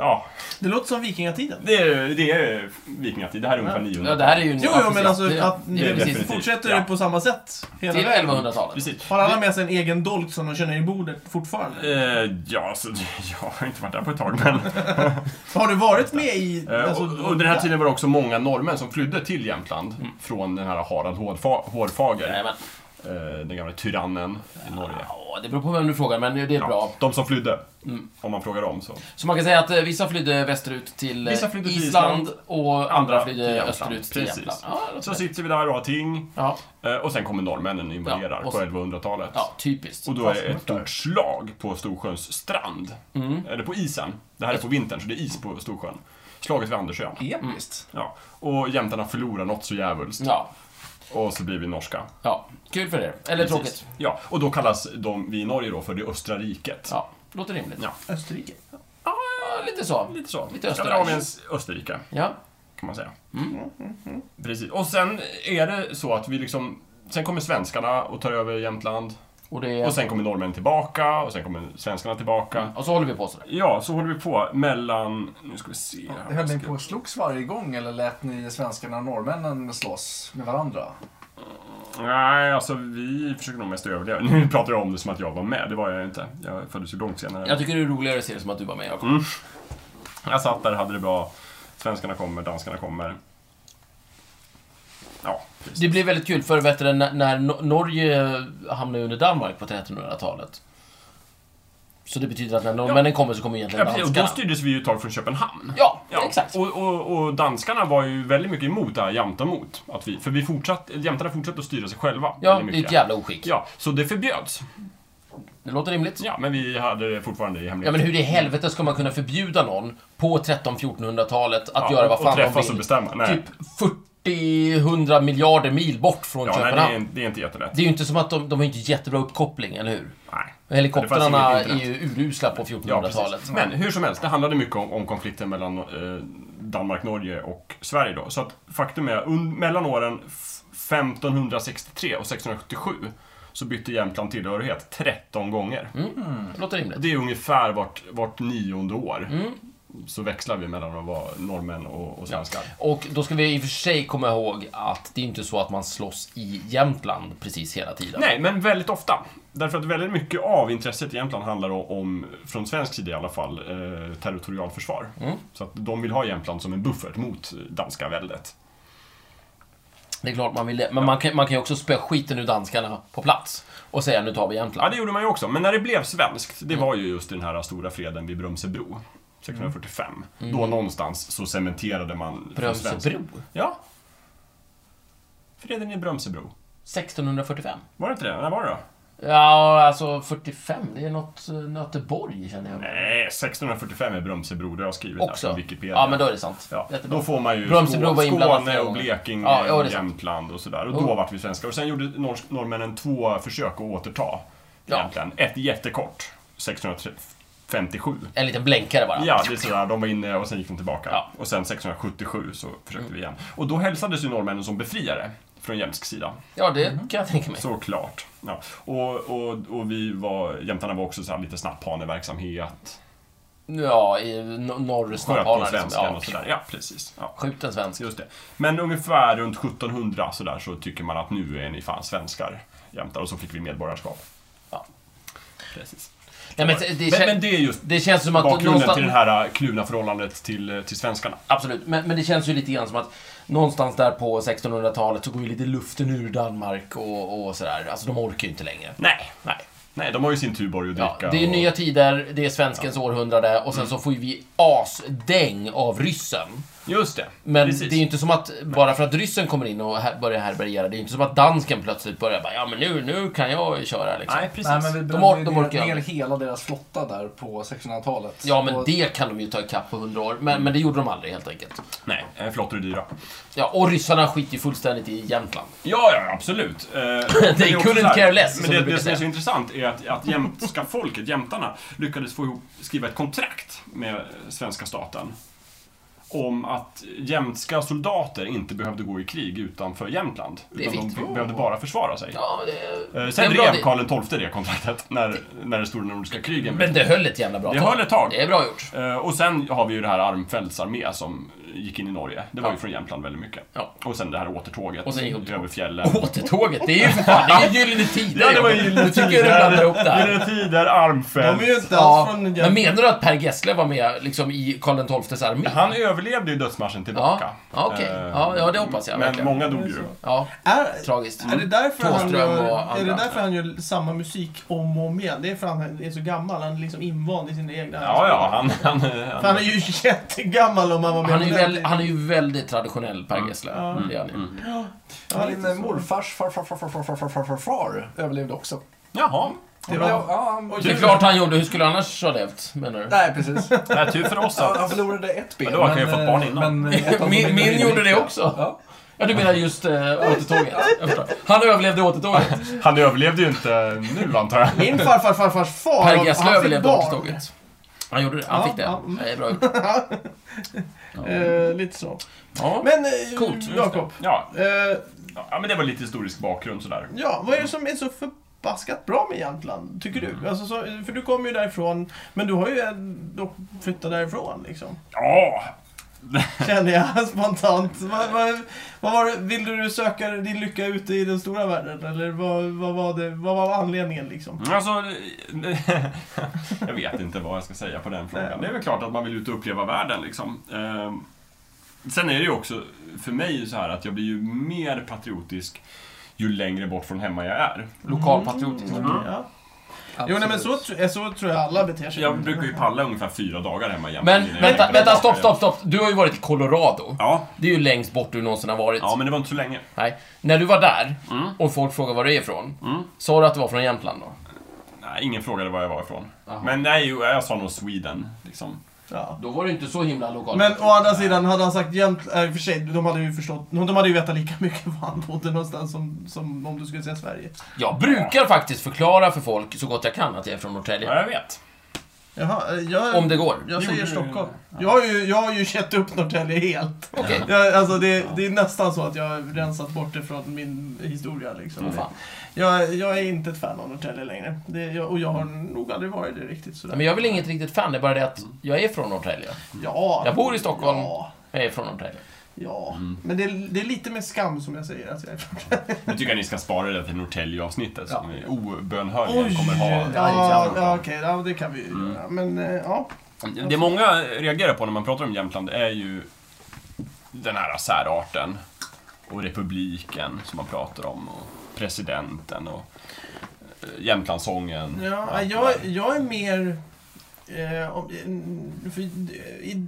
[SPEAKER 3] Ja,
[SPEAKER 1] Det låter som vikingatiden.
[SPEAKER 3] det är, det är vikingatid. Det här är ungefär 900.
[SPEAKER 2] Ja, det här är ju...
[SPEAKER 1] Jo, jo, men alltså att
[SPEAKER 2] det, det,
[SPEAKER 1] det,
[SPEAKER 2] är
[SPEAKER 3] definitivt.
[SPEAKER 2] precis.
[SPEAKER 1] fortsätter
[SPEAKER 3] Ja.
[SPEAKER 1] på samma sätt hela
[SPEAKER 2] Till
[SPEAKER 1] vägen.
[SPEAKER 2] 1100-talet.
[SPEAKER 3] Precis.
[SPEAKER 1] Har alla med sig en egen dolk som de känner i bordet fortfarande?
[SPEAKER 3] Eh, ja, så, (laughs) jag har inte varit där på ett tag, men...
[SPEAKER 1] Har du varit med i...
[SPEAKER 3] Eh,
[SPEAKER 1] alltså,
[SPEAKER 3] och- Under den här tiden var det också många norrmän som flydde till Jämtland
[SPEAKER 2] Mm.
[SPEAKER 3] från den här Harald Hårfa- Hårfager,
[SPEAKER 2] Jajamän.
[SPEAKER 3] eh, den gamla tyrannen i Norge.
[SPEAKER 2] Ja, det beror på vem du frågar, men det är bra. Mm.
[SPEAKER 3] Ja, de som flydde, om man frågar dem så.
[SPEAKER 2] Så man kan säga att eh, vissa flydde västerut till eh,
[SPEAKER 3] Vissa flydde till
[SPEAKER 2] Island,
[SPEAKER 3] Island.
[SPEAKER 2] och andra flydde
[SPEAKER 3] till Jämtland.
[SPEAKER 2] österut till
[SPEAKER 3] Precis.
[SPEAKER 2] Jämtland. Ja, det
[SPEAKER 3] Så
[SPEAKER 2] låter rätt.
[SPEAKER 3] sitter vi där och har ting.
[SPEAKER 2] ja,
[SPEAKER 3] eh, Och sen kommer norrmännen och invaderar
[SPEAKER 2] Ja, och
[SPEAKER 3] på
[SPEAKER 2] så-
[SPEAKER 3] 1100-talet.
[SPEAKER 2] ja, typiskt.
[SPEAKER 3] Och då är det ett stort slag på Storsjöns strand.
[SPEAKER 2] Mm.
[SPEAKER 3] Eller på isen. Det här är på vintern, så det är is på Storsjön. Slaget vid Andersön.
[SPEAKER 5] Episkt.
[SPEAKER 3] Ja. Och jämtarna förlorar något så djävulskt.
[SPEAKER 2] Mm. Ja,
[SPEAKER 3] Och så blir vi norska.
[SPEAKER 2] ja. Kul för er. Eller tråkigt.
[SPEAKER 3] Ja, och då kallas de, vi i Norge då, för det östra riket.
[SPEAKER 2] Ja, låter rimligt.
[SPEAKER 3] Ja.
[SPEAKER 1] Österrike.
[SPEAKER 2] Ja, lite så.
[SPEAKER 3] Lite så.
[SPEAKER 2] Lite
[SPEAKER 3] Skandinaviens Österrike.
[SPEAKER 2] Ja.
[SPEAKER 3] kan man säga. Precis. Och sen är det så att vi liksom... Sen kommer svenskarna och tar över Jämtland.
[SPEAKER 2] Och, det,
[SPEAKER 3] Och sen kommer norrmännen tillbaka och sen kommer svenskarna tillbaka.
[SPEAKER 2] och så håller vi på sådär.
[SPEAKER 3] Ja, så håller vi på mellan... Nu ska vi se här.
[SPEAKER 5] Höll ni på och slogs varje gång eller lät ni svenskarna och norrmännen slåss med varandra?
[SPEAKER 3] Nej, alltså vi försöker nog mest överleva. Nu (laughs) pratar jag om det som att jag var med. Det var jag inte. Jag föddes ju långt senare.
[SPEAKER 2] Jag tycker det är roligare att se det som att du var med, Jakob.
[SPEAKER 3] Jag satt där, hade det bra. Svenskarna kommer, danskarna kommer. Ja, precis.
[SPEAKER 2] Det blev väldigt kul, för vet du, när, när Nor- Norge hamnade under Danmark på 1300-talet. Så det betyder att när norrmännen kommer så kommer
[SPEAKER 3] Ja,
[SPEAKER 2] egentligen
[SPEAKER 3] precis. Och
[SPEAKER 2] danskarna.
[SPEAKER 3] då styrdes vi ju ett tag från Köpenhamn.
[SPEAKER 2] Ja, exakt.
[SPEAKER 3] Och, och, och danskarna var ju väldigt mycket emot det här jämtamot. Att vi, för vi fortsatt, jämtarna fortsatte att styra sig själva.
[SPEAKER 2] Ja,
[SPEAKER 3] väldigt
[SPEAKER 2] det är
[SPEAKER 3] mycket.
[SPEAKER 2] ett jävla oskick.
[SPEAKER 3] Ja, så det förbjöds.
[SPEAKER 2] Det låter rimligt.
[SPEAKER 3] Ja, men vi hade det fortfarande i
[SPEAKER 2] Ja,
[SPEAKER 3] hemlighet.
[SPEAKER 2] men hur i helvete ska man kunna förbjuda någon på 13-1400-talet att
[SPEAKER 3] Ja,
[SPEAKER 2] göra vad
[SPEAKER 3] och
[SPEAKER 2] fan de
[SPEAKER 3] träffas
[SPEAKER 2] vill?
[SPEAKER 3] och bestämma. Nej.
[SPEAKER 2] Typ 40-100 miljarder mil bort från
[SPEAKER 3] ja, nej,
[SPEAKER 2] Köpenhamn.
[SPEAKER 3] det är, det är inte jättelätt.
[SPEAKER 2] Det är ju inte som att de, de har inte jättebra uppkoppling, eller hur?
[SPEAKER 3] Nej. Det
[SPEAKER 2] Helikoptrarna
[SPEAKER 3] fanns inget
[SPEAKER 2] är
[SPEAKER 3] internet.
[SPEAKER 2] ju urusla på
[SPEAKER 3] Ja, precis. Mm.
[SPEAKER 2] 1400-talet.
[SPEAKER 3] Men hur som helst, det handlade mycket om, om konflikten mellan eh, Danmark, Norge och Sverige då. Så att faktum är, un, mellan åren f- 1563 och 1677 så bytte Jämtland tillhörighet 13
[SPEAKER 2] Mm.
[SPEAKER 3] gånger.
[SPEAKER 2] Det låter rimligt.
[SPEAKER 3] Det är ungefär vart, vart nionde år. Så växlar vi mellan att vara norrmän och, och svenskar.
[SPEAKER 2] Och då ska vi i och för sig komma ihåg att det är inte så att man slåss i Jämtland precis hela tiden.
[SPEAKER 3] Nej, men väldigt ofta. Därför att väldigt mycket av intresset i Jämtland handlar om, om från svensk sida i alla fall, eh, territorialförsvar. Så att de vill ha Jämtland som en buffert mot danska väldet.
[SPEAKER 2] Det är klart man vill det. Men man, kan, man kan ju också spöa skiten ur danskarna på plats och säga nu tar vi
[SPEAKER 3] Ja,
[SPEAKER 2] Jämtland.
[SPEAKER 3] det gjorde man ju också. Men när det blev svenskt, det var ju just den här stora freden vid Brömsebro. 1645. Då någonstans så cementerade man... från svensk-
[SPEAKER 2] Brömsebro?
[SPEAKER 3] Ja. Freden i Brömsebro.
[SPEAKER 2] 1645?
[SPEAKER 3] Var det inte det? När var det då?
[SPEAKER 2] Ja, alltså 45, det är något eh, Göteborg känner jag.
[SPEAKER 3] Nej, 1645 Eh, är Brömsebro, det har jag skrivit här
[SPEAKER 2] också.
[SPEAKER 3] på Wikipedia.
[SPEAKER 2] Ja, men då är det sant.
[SPEAKER 3] Ja,
[SPEAKER 2] Jättebra.
[SPEAKER 3] då får man ju
[SPEAKER 2] Brömsebro
[SPEAKER 3] Skå-
[SPEAKER 2] var inblandad
[SPEAKER 3] Skåne
[SPEAKER 2] flera
[SPEAKER 3] och
[SPEAKER 2] gånger.
[SPEAKER 3] Blekinge
[SPEAKER 2] Ja, ja, det är
[SPEAKER 3] och
[SPEAKER 2] sant.
[SPEAKER 3] Jämtland och sådär. Och då
[SPEAKER 2] Mm.
[SPEAKER 3] vart vi svenskar. Och sen gjorde norsk, norrmännen två försök att återta
[SPEAKER 2] Ja.
[SPEAKER 3] Jämtland. Ett jättekort, 1657.
[SPEAKER 2] En liten blänkare bara.
[SPEAKER 3] Ja, det är sådär. De var inne och sen gick de tillbaka.
[SPEAKER 2] Ja. Mm.
[SPEAKER 3] Och sen 1677 så försökte vi igen. Och då hälsades ju norrmännen som befriare från jämtsk sida.
[SPEAKER 2] Ja, det
[SPEAKER 3] Mhm.
[SPEAKER 2] kan jag tänka mig.
[SPEAKER 3] Såklart. Ja. Och, och, och vi var, jämtarna var också så här lite snapphaneverksamhet.
[SPEAKER 2] Ja, i no- norr
[SPEAKER 3] Sköt på
[SPEAKER 2] snabbhanar. Liksom.
[SPEAKER 3] svenskan
[SPEAKER 2] Ja,
[SPEAKER 3] och sådär. Ja, precis. Ja.
[SPEAKER 2] skjut en svensk.
[SPEAKER 3] Just det. Men ungefär runt 1700 sådär så tycker man att nu är ni fan svenskar. Jämtar och så fick vi medborgarskap.
[SPEAKER 2] Ja.
[SPEAKER 3] Precis.
[SPEAKER 2] Nej, men, det, det,
[SPEAKER 3] Men,
[SPEAKER 2] kän-
[SPEAKER 3] men det är just
[SPEAKER 2] det känns som att...
[SPEAKER 3] bakgrunden
[SPEAKER 2] någonstans-
[SPEAKER 3] till det här kluvna förhållandet till, till svenskarna.
[SPEAKER 2] Absolut, men, men det känns ju lite grann som att någonstans där på 1600-talet så går ju lite luften ur Danmark och, och sådär. Alltså de orkar ju inte längre.
[SPEAKER 3] Nej, nej. Nej, de har ju sin Tuborg att dricka.
[SPEAKER 2] Ja, det är ju
[SPEAKER 3] och... Mm.
[SPEAKER 2] nya tider, det är svenskens århundrade och sen så får ju vi asdäng av ryssen.
[SPEAKER 3] Just det.
[SPEAKER 2] Men
[SPEAKER 3] precis.
[SPEAKER 2] det är ju inte som att, bara för att ryssen kommer in och här, börjar härbärgera, det är ju inte som att dansken plötsligt börjar bara, ja men nu, nu kan jag köra liksom.
[SPEAKER 3] Nej, precis.
[SPEAKER 5] Nej, men vi
[SPEAKER 2] De
[SPEAKER 5] brände
[SPEAKER 2] or-
[SPEAKER 5] ju
[SPEAKER 2] de orkar
[SPEAKER 5] ner,
[SPEAKER 2] ju
[SPEAKER 5] ner
[SPEAKER 2] aldrig.
[SPEAKER 5] hela deras flotta där på 1600-talet.
[SPEAKER 2] Ja, men
[SPEAKER 5] Och-
[SPEAKER 2] det kan de ju ta ikapp på hundra år. Men, men det gjorde de aldrig helt enkelt.
[SPEAKER 3] Nej, eh, flottor är dyra.
[SPEAKER 2] Ja, och ryssarna skiter ju fullständigt i Jämtland.
[SPEAKER 3] Ja, ja, absolut.
[SPEAKER 2] (laughs)
[SPEAKER 3] Eh, men det är också
[SPEAKER 2] couldn't
[SPEAKER 3] så här-
[SPEAKER 2] care less,
[SPEAKER 3] Men
[SPEAKER 2] som
[SPEAKER 3] det,
[SPEAKER 2] du brukar
[SPEAKER 3] det som är så
[SPEAKER 2] säga.
[SPEAKER 3] intressant är att, att jämtska folket, jämtarna, lyckades få ihop, skriva ett kontrakt med eh, svenska staten om att jämtska soldater inte behövde gå i krig utanför Jämtland.
[SPEAKER 2] är
[SPEAKER 3] Utan de
[SPEAKER 2] fint.
[SPEAKER 3] be- behövde bara försvara sig.
[SPEAKER 2] Ja, det,
[SPEAKER 3] Eh,
[SPEAKER 2] en
[SPEAKER 3] Sen
[SPEAKER 2] bra
[SPEAKER 3] drev
[SPEAKER 2] di-
[SPEAKER 3] Karl XII det kontraktet när, när det stora nordiska krigen
[SPEAKER 2] Men det höll ett jävla bra
[SPEAKER 3] Det höll ett tag.
[SPEAKER 2] Det är bra gjort.
[SPEAKER 3] Eh, Och sen har vi ju det här Armfeldts armé som gick in i Norge. Det var
[SPEAKER 2] Ja.
[SPEAKER 3] ju från Jämtland väldigt mycket.
[SPEAKER 2] Ja.
[SPEAKER 3] Och sen det här återtåget
[SPEAKER 2] Och sen gick de till-
[SPEAKER 3] över fjällen.
[SPEAKER 2] Återtåget, det är ju för fan, det är ju Gyllene Tider.
[SPEAKER 3] Ja, det var ju
[SPEAKER 2] Nu
[SPEAKER 3] Gyllene
[SPEAKER 2] tycker jag du blandar ihop det här.
[SPEAKER 3] Gyllene Tider,
[SPEAKER 1] De är
[SPEAKER 3] Armfeldt.
[SPEAKER 1] ju inte alls
[SPEAKER 2] Ja,
[SPEAKER 1] från...
[SPEAKER 2] men menar du att Per Gessle var med liksom, i Karl XIIs armé?
[SPEAKER 3] Han överlevde ju dödsmarschen tillbaka.
[SPEAKER 2] Ja, okej.
[SPEAKER 3] Eh,
[SPEAKER 2] Ja, ja, det hoppas jag
[SPEAKER 3] Men
[SPEAKER 2] verkligen.
[SPEAKER 3] många dog ju.
[SPEAKER 2] Ja,
[SPEAKER 1] Är,
[SPEAKER 2] tragiskt.
[SPEAKER 1] är det därför, han
[SPEAKER 2] Thåström Mm. och
[SPEAKER 1] gör,
[SPEAKER 2] andra.
[SPEAKER 1] är det därför han gör samma musik om och om igen? Det är för att han är så gammal. Han är liksom invand i sina egna...
[SPEAKER 3] Ja, ja, han... han,
[SPEAKER 1] För han
[SPEAKER 3] han
[SPEAKER 1] är ju (laughs) jättegammal om han var med
[SPEAKER 2] Han är,
[SPEAKER 1] på den
[SPEAKER 2] ju väl,
[SPEAKER 1] tiden.
[SPEAKER 2] han är ju väldigt traditionell, Per Gessle.
[SPEAKER 1] Ja.
[SPEAKER 2] Mm. Det är han ju.
[SPEAKER 1] Ja,
[SPEAKER 5] Min eh,
[SPEAKER 1] lite så.
[SPEAKER 5] morfars far, far, far, far, far, far, far, far, far, far överlevde också.
[SPEAKER 3] Jaha.
[SPEAKER 1] Det
[SPEAKER 5] Ja,
[SPEAKER 1] var...
[SPEAKER 5] ja, han-
[SPEAKER 2] Det är klart han gjorde. Hur skulle han annars ha levt, menar du?
[SPEAKER 5] Nej, precis.
[SPEAKER 3] Nej, tur för oss
[SPEAKER 5] Ja, Han
[SPEAKER 3] att...
[SPEAKER 5] förlorade ett ben.
[SPEAKER 3] Men då har han ju fått barn innan.
[SPEAKER 5] men ett av
[SPEAKER 2] (laughs)
[SPEAKER 5] dem
[SPEAKER 2] Min,
[SPEAKER 5] är-
[SPEAKER 2] min gjorde det också.
[SPEAKER 5] Ja.
[SPEAKER 2] Ja, du menar just eh, återtåget. Jag förstår. Han överlevde återtåget.
[SPEAKER 3] Han överlevde ju inte nu, antar jag.
[SPEAKER 1] Min farfar farfars far,
[SPEAKER 2] Per Gessle
[SPEAKER 1] han fick
[SPEAKER 2] överlevde
[SPEAKER 1] barn.
[SPEAKER 2] återtåget. Han gjorde det. Han
[SPEAKER 1] Ja,
[SPEAKER 2] fick det.
[SPEAKER 1] ja.
[SPEAKER 2] Det är
[SPEAKER 1] (laughs)
[SPEAKER 2] bra gjort.
[SPEAKER 1] Eh, lite så.
[SPEAKER 2] Ja.
[SPEAKER 1] Men, eh,
[SPEAKER 2] Coolt, just det.
[SPEAKER 1] Jakob.
[SPEAKER 3] Ja,
[SPEAKER 1] Eh,
[SPEAKER 3] ja, men det var lite historisk bakgrund sådär.
[SPEAKER 1] ja, vad är det som är så förbaskat bra med Jämtland, tycker du? Alltså, så, för du kommer ju därifrån, men du har ju ändå flyttat därifrån, liksom.
[SPEAKER 3] Ja,
[SPEAKER 1] Känner jag (laughs) spontant. Vad, vad, vad var det, vill du söka din lycka ute i den stora världen? Eller vad, vad, var, det, vad var anledningen, liksom?
[SPEAKER 3] Mm, Alltså, (laughs) jag vet inte vad jag ska säga på den
[SPEAKER 1] Nej.
[SPEAKER 3] frågan. Det är väl klart att man vill ut och uppleva världen liksom. Ehm, Sen är det ju också, för mig, så här att jag blir ju mer patriotisk ju längre bort från hemma jag är.
[SPEAKER 2] Lokalpatriotisk.
[SPEAKER 3] Mm.
[SPEAKER 1] Ja. Jo, nej, men så, tr- eh, så tror jag alla beter sig.
[SPEAKER 3] Jag brukar ju palla ungefär fyra dagar hemma jämt.
[SPEAKER 2] Men
[SPEAKER 3] innan jag
[SPEAKER 2] vänta,
[SPEAKER 3] hittar
[SPEAKER 2] vänta,
[SPEAKER 3] tillbaka
[SPEAKER 2] stopp,
[SPEAKER 3] igen.
[SPEAKER 2] stopp, stopp. Du har ju varit i Colorado.
[SPEAKER 3] Ja,
[SPEAKER 2] Det är ju längst bort du någonsin har varit.
[SPEAKER 3] ja, men det var inte så länge.
[SPEAKER 2] Nej. När du var där och folk frågar var du är ifrån, sa du att du var från Jämtland då?
[SPEAKER 3] Nej, ingen frågade var jag var ifrån. Men nej, jo, jag sa nog Sweden. Liksom.
[SPEAKER 1] Ja.
[SPEAKER 2] Då var du inte så himla lokal.
[SPEAKER 1] Men å andra sidan, hade han sagt Jämtland, äh, i och för sig, de hade ju förstått, de hade ju vetat lika (laughs) mycket var han bodde någonstans som, som om du skulle säga Sverige.
[SPEAKER 2] Jag brukar faktiskt förklara för folk så gott jag kan att jag är från Norrtälje.
[SPEAKER 3] Ja, jag vet.
[SPEAKER 1] Jaha, eh, jag,
[SPEAKER 2] Om det går.
[SPEAKER 1] jag säger
[SPEAKER 3] Jo, det-
[SPEAKER 1] Stockholm. Jag har, ju, jag har ju gett upp Norrtälje helt.
[SPEAKER 2] Okej.
[SPEAKER 1] Jag, alltså det, det är nästan så att jag har rensat bort det från min historia. Liksom.
[SPEAKER 2] Vad fan.
[SPEAKER 1] Jag, jag är inte ett fan av Norrtälje längre. Det, jag, och jag har nog aldrig varit det riktigt. Sådär.
[SPEAKER 2] Men jag är väl inget riktigt fan, det är bara det att jag är från Norrtälje.
[SPEAKER 1] ja,
[SPEAKER 2] jag bor i Stockholm. Mm.
[SPEAKER 1] Ja,
[SPEAKER 2] Jag är från Norrtälje.
[SPEAKER 1] ja. men det, det är lite med skam som jag säger att jag är från
[SPEAKER 3] Nu tycker jag ni ska spara det till Norrtälje-avsnittet som vi obönhörligen
[SPEAKER 1] Oj!
[SPEAKER 3] kommer ha.
[SPEAKER 1] Ja, ja, okej, ja, det kan vi ju
[SPEAKER 2] Mm.
[SPEAKER 1] göra. Men eh, ja.
[SPEAKER 3] Det många reagerar på när man pratar om Jämtland är ju den här särarten och republiken som man pratar om och presidenten och eh, Jämtlandssången.
[SPEAKER 2] Mm.
[SPEAKER 1] ja
[SPEAKER 3] Allt
[SPEAKER 1] jag,
[SPEAKER 3] det där.
[SPEAKER 1] jag är mer... Eh, om, eh, för, i,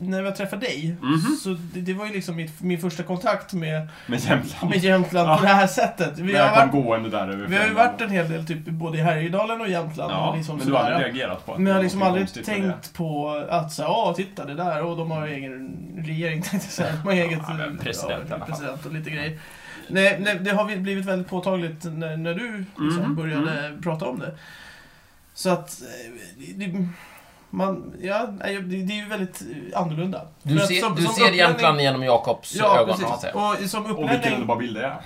[SPEAKER 1] när jag träffade dig,
[SPEAKER 2] Mm-hmm.
[SPEAKER 1] så det, det var ju liksom mitt, min första kontakt med,
[SPEAKER 3] Med Jämtland.
[SPEAKER 1] med Jämtland på
[SPEAKER 3] Ja.
[SPEAKER 1] det här sättet. Vi
[SPEAKER 3] När
[SPEAKER 1] har,
[SPEAKER 3] jag kom
[SPEAKER 1] varit,
[SPEAKER 3] gående där över
[SPEAKER 1] vi har ju
[SPEAKER 3] fjällen.
[SPEAKER 1] varit en hel del typ, både i Härjedalen och Jämtland.
[SPEAKER 3] Ja,
[SPEAKER 1] och liksom
[SPEAKER 3] men du har
[SPEAKER 1] sådär.
[SPEAKER 3] aldrig reagerat på att
[SPEAKER 1] Men jag
[SPEAKER 3] det
[SPEAKER 1] har
[SPEAKER 3] är
[SPEAKER 1] liksom
[SPEAKER 3] någonting
[SPEAKER 1] aldrig
[SPEAKER 3] konstigt med det.
[SPEAKER 1] tänkt på att så här, ja, titta det där, och de har ju egen regering, (laughs) tänkte jag säga. De har eget
[SPEAKER 3] Ja, men
[SPEAKER 1] eh,
[SPEAKER 3] president i alla fall.
[SPEAKER 1] president och lite grejer. Nej, nej, det har vi- blivit väldigt påtagligt när, när du liksom
[SPEAKER 3] Mm,
[SPEAKER 1] började prata om det. Så att, eh, det, Man, ja, nej, det det är ju väldigt annorlunda.
[SPEAKER 2] Du
[SPEAKER 1] För att
[SPEAKER 2] ser,
[SPEAKER 1] som-
[SPEAKER 2] du
[SPEAKER 1] som
[SPEAKER 2] ser
[SPEAKER 1] upplänning-
[SPEAKER 2] Jämtland genom Jakobs
[SPEAKER 1] Ja,
[SPEAKER 2] ögon, så att
[SPEAKER 1] precis.
[SPEAKER 2] säga.
[SPEAKER 1] Och som
[SPEAKER 3] Och vilken
[SPEAKER 1] upplänning,
[SPEAKER 3] underbar bild det är.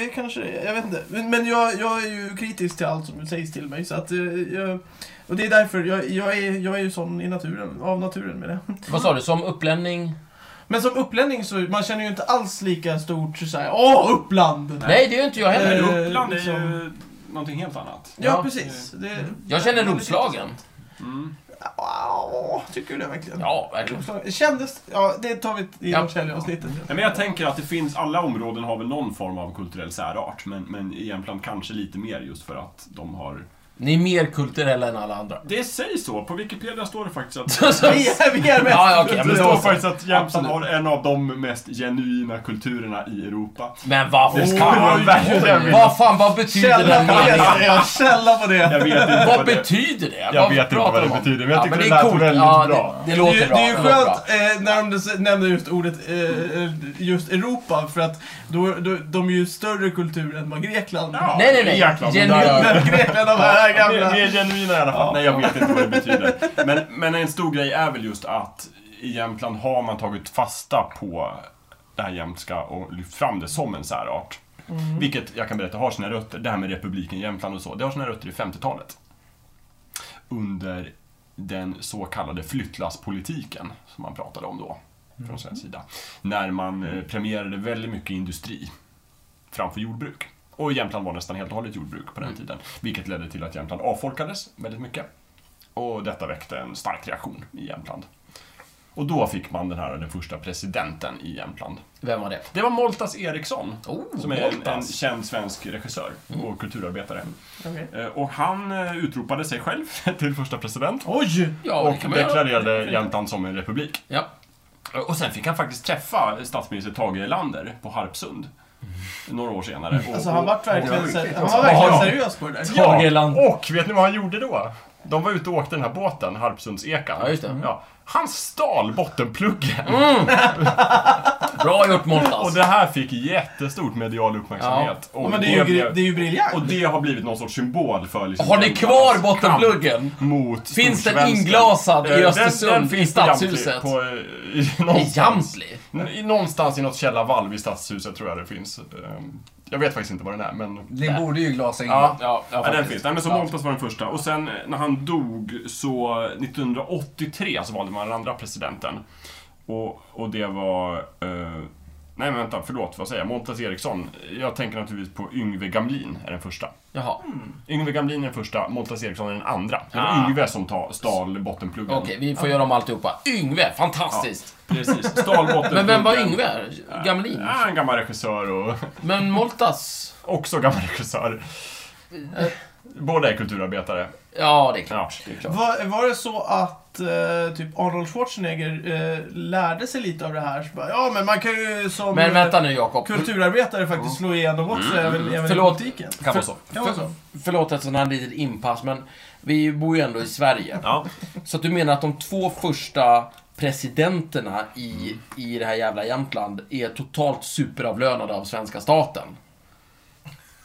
[SPEAKER 1] det kanske det är, jag vet inte. Men, men jag, jag är ju kritisk till allt som sägs till mig. Så att, eh, jag, och det är därför, jag, jag, är, jag är ju sån i naturen, av naturen med det.
[SPEAKER 2] Vad sa du? Som upplänning?
[SPEAKER 1] (laughs) Men som upplänning så, man känner ju inte alls lika stort såhär, åh Uppland!
[SPEAKER 2] Nej, det gör inte jag
[SPEAKER 1] Eh,
[SPEAKER 3] Men
[SPEAKER 2] heller.
[SPEAKER 3] Uppland är ju
[SPEAKER 1] liksom-
[SPEAKER 3] någonting helt annat.
[SPEAKER 1] Ja,
[SPEAKER 2] Ja. Mm.
[SPEAKER 1] precis. Det,
[SPEAKER 2] Jag känner
[SPEAKER 1] det är lite
[SPEAKER 2] Roslagen.
[SPEAKER 1] intressant.
[SPEAKER 3] Mm.
[SPEAKER 1] Wow, tycker du det verkligen?
[SPEAKER 2] Ja, verkligen.
[SPEAKER 1] Roslagen. Kändes, ja det tar vi i
[SPEAKER 2] Ja.
[SPEAKER 1] Norrtäljeavsnittet.
[SPEAKER 3] Nej, men jag tänker att det finns, alla områden har väl någon form av kulturell särart. Men, men i Jämtland kanske lite mer just för att de har...
[SPEAKER 2] Ni är mer kulturella än alla andra. (laughs)
[SPEAKER 3] Det sägs så, på Wikipedia står det faktiskt att...
[SPEAKER 1] Vi är, vi är mest...
[SPEAKER 2] Ja, ja, okej. Ja,
[SPEAKER 3] det
[SPEAKER 2] men,
[SPEAKER 3] står
[SPEAKER 2] då,
[SPEAKER 3] faktiskt att Jämtland har en av de mest genuina kulturerna i Europa.
[SPEAKER 2] men vad
[SPEAKER 3] Det ska
[SPEAKER 2] fan,
[SPEAKER 3] man verkligen vilja.
[SPEAKER 2] vad fan, vad betyder
[SPEAKER 1] Källa
[SPEAKER 2] den
[SPEAKER 1] på det!
[SPEAKER 2] meningen?
[SPEAKER 1] säger jag. Källa på det!
[SPEAKER 3] Jag vet inte
[SPEAKER 2] Vad
[SPEAKER 3] vad det...
[SPEAKER 2] betyder det?
[SPEAKER 3] Jag vet inte
[SPEAKER 2] pratar
[SPEAKER 3] vad det
[SPEAKER 2] de om?
[SPEAKER 3] betyder, men jag tyckte
[SPEAKER 2] men
[SPEAKER 3] det
[SPEAKER 2] är
[SPEAKER 3] lät
[SPEAKER 2] coolt.
[SPEAKER 3] väldigt
[SPEAKER 2] ja,
[SPEAKER 3] bra.
[SPEAKER 2] Det, det
[SPEAKER 1] Det,
[SPEAKER 2] låter
[SPEAKER 1] är-
[SPEAKER 2] bra.
[SPEAKER 1] det är ju
[SPEAKER 2] låter
[SPEAKER 1] skönt
[SPEAKER 2] bra.
[SPEAKER 1] eh, när de des- nämner just ordet eh, eh, just Europa, för att då, då, de är ju större kultur än vad Grekland
[SPEAKER 3] Ja,
[SPEAKER 2] Nej, nej, nej.
[SPEAKER 3] Jäklar, men
[SPEAKER 2] Genuin.
[SPEAKER 3] där-
[SPEAKER 1] Men Grekland, de här
[SPEAKER 3] (laughs) Mer,
[SPEAKER 1] gamla...
[SPEAKER 3] mer genuina i alla fall. Nej, jag vet inte vad det betyder. Men, men en stor grej är väl just att i Jämtland har man tagit fasta på det här jämtska och lyft fram det som en särart. Vilket, jag kan berätta, har sina rötter. Det här med republiken Jämtland och så, det har sina rötter i 50-talet. Under den så kallade flyttlasspolitiken som man pratade om då, från svensk sida. När man eh, premierade väldigt mycket industri framför jordbruk. Och Jämtland var nästan helt och hållet jordbruk på
[SPEAKER 2] Mm.
[SPEAKER 3] den tiden. Vilket ledde till att Jämtland avfolkades väldigt mycket. Och detta väckte en stark reaktion i Jämtland. Och då fick man den här den första presidenten i Jämtland.
[SPEAKER 2] Vem var det?
[SPEAKER 3] Det var Moltas Eriksson,
[SPEAKER 2] Oh,
[SPEAKER 3] som är en, en
[SPEAKER 2] Moltas. Mm.
[SPEAKER 3] känd svensk regissör och kulturarbetare.
[SPEAKER 1] Okej.
[SPEAKER 3] Eh, Och han eh, utropade sig själv (laughs) till första president
[SPEAKER 1] Oj!
[SPEAKER 2] Ja, det
[SPEAKER 3] och
[SPEAKER 2] kan man göra.
[SPEAKER 3] deklarerade Jämtland som en republik.
[SPEAKER 2] Ja.
[SPEAKER 3] Och sen fick han faktiskt träffa statsminister Tage Erlander på Harpsund några år senare. Och-
[SPEAKER 1] Alltså han
[SPEAKER 3] och-
[SPEAKER 1] vart verkligen,
[SPEAKER 3] och-
[SPEAKER 1] ser, han var verkligen seriös på det där.
[SPEAKER 2] Tage Erlander.
[SPEAKER 3] Och vet ni vad han gjorde då? De var ute och åkte den här båten, Harpsundsekan.
[SPEAKER 2] Ja, just det. Mm.
[SPEAKER 3] Ja. Han stal bottenpluggen!
[SPEAKER 2] Bra gjort,
[SPEAKER 3] Och
[SPEAKER 2] Montas.
[SPEAKER 3] det här fick jättestort medial uppmärksamhet.
[SPEAKER 1] Ja,
[SPEAKER 3] Och,
[SPEAKER 1] men det är ju,
[SPEAKER 3] blev-
[SPEAKER 1] gri- det är ju
[SPEAKER 3] och
[SPEAKER 1] briljant.
[SPEAKER 3] det har blivit någon sorts symbol för liksom
[SPEAKER 2] Har ni kvar
[SPEAKER 3] Jämtlands
[SPEAKER 2] bottenpluggen?
[SPEAKER 3] kamp Mot
[SPEAKER 2] Finns den
[SPEAKER 3] storsvensken.
[SPEAKER 2] inglasad i
[SPEAKER 3] Eh, den-
[SPEAKER 2] Östersund,
[SPEAKER 3] den finns
[SPEAKER 2] i stadshuset?
[SPEAKER 3] På, Jamtli, på, eh, i,
[SPEAKER 2] I
[SPEAKER 3] någonstans.
[SPEAKER 2] Jamtli?
[SPEAKER 3] I- Någonstans i något källarvalv i stadshuset tror jag det finns. Ehm, Jag vet faktiskt inte var den är, men...
[SPEAKER 5] Det borde ju glasa in.
[SPEAKER 3] Ja,
[SPEAKER 2] Ja, ja,
[SPEAKER 3] Ja, den
[SPEAKER 2] faktiskt.
[SPEAKER 3] finns. Nej, men så
[SPEAKER 2] Ja.
[SPEAKER 3] Moltas var den första. Och sen eh, när han dog så eh, 1983 så valde man den andra presidenten. Och, och det var... Eh, nej men vänta, förlåt. Vad säger jag? Montas Eriksson. Jag tänker naturligtvis på Yngve Gamlin är den första.
[SPEAKER 2] Jaha.
[SPEAKER 3] Yngve Gamlin är den första, Montas Eriksson är den andra. Det var
[SPEAKER 2] Ah.
[SPEAKER 3] Yngve som ta, stal bottenpluggen.
[SPEAKER 2] Okej, vi får göra om alltihopa. Yngve, fantastiskt!
[SPEAKER 3] Precis, stal bottenpluggen.
[SPEAKER 2] (laughs) Men vem var Yngve? Gamlin?
[SPEAKER 3] Ja, en gammal regissör och (laughs)
[SPEAKER 2] Men Moltas?
[SPEAKER 3] också gammal regissör. Båda är kulturarbetare.
[SPEAKER 2] Ja, det är klart.
[SPEAKER 3] Ja, det är klart.
[SPEAKER 1] Var, var det så att eh, typ Arnold Schwarzenegger eh, lärde sig lite av det här? Så bara, ja, men man kan ju som
[SPEAKER 2] Men vänta
[SPEAKER 1] eh,
[SPEAKER 2] nu, Jakob.
[SPEAKER 1] kulturarbetare faktiskt slå igenom också, även, även i
[SPEAKER 2] Förlåt.
[SPEAKER 1] politiken.
[SPEAKER 3] Kan vara så.
[SPEAKER 1] Kan vara så.
[SPEAKER 2] Förlåt ett sånt här litet inpass, men vi bor ju ändå i Sverige.
[SPEAKER 3] Ja.
[SPEAKER 2] Så att du menar att de två första presidenterna i, i det här jävla Jämtland är totalt superavlönade av svenska staten?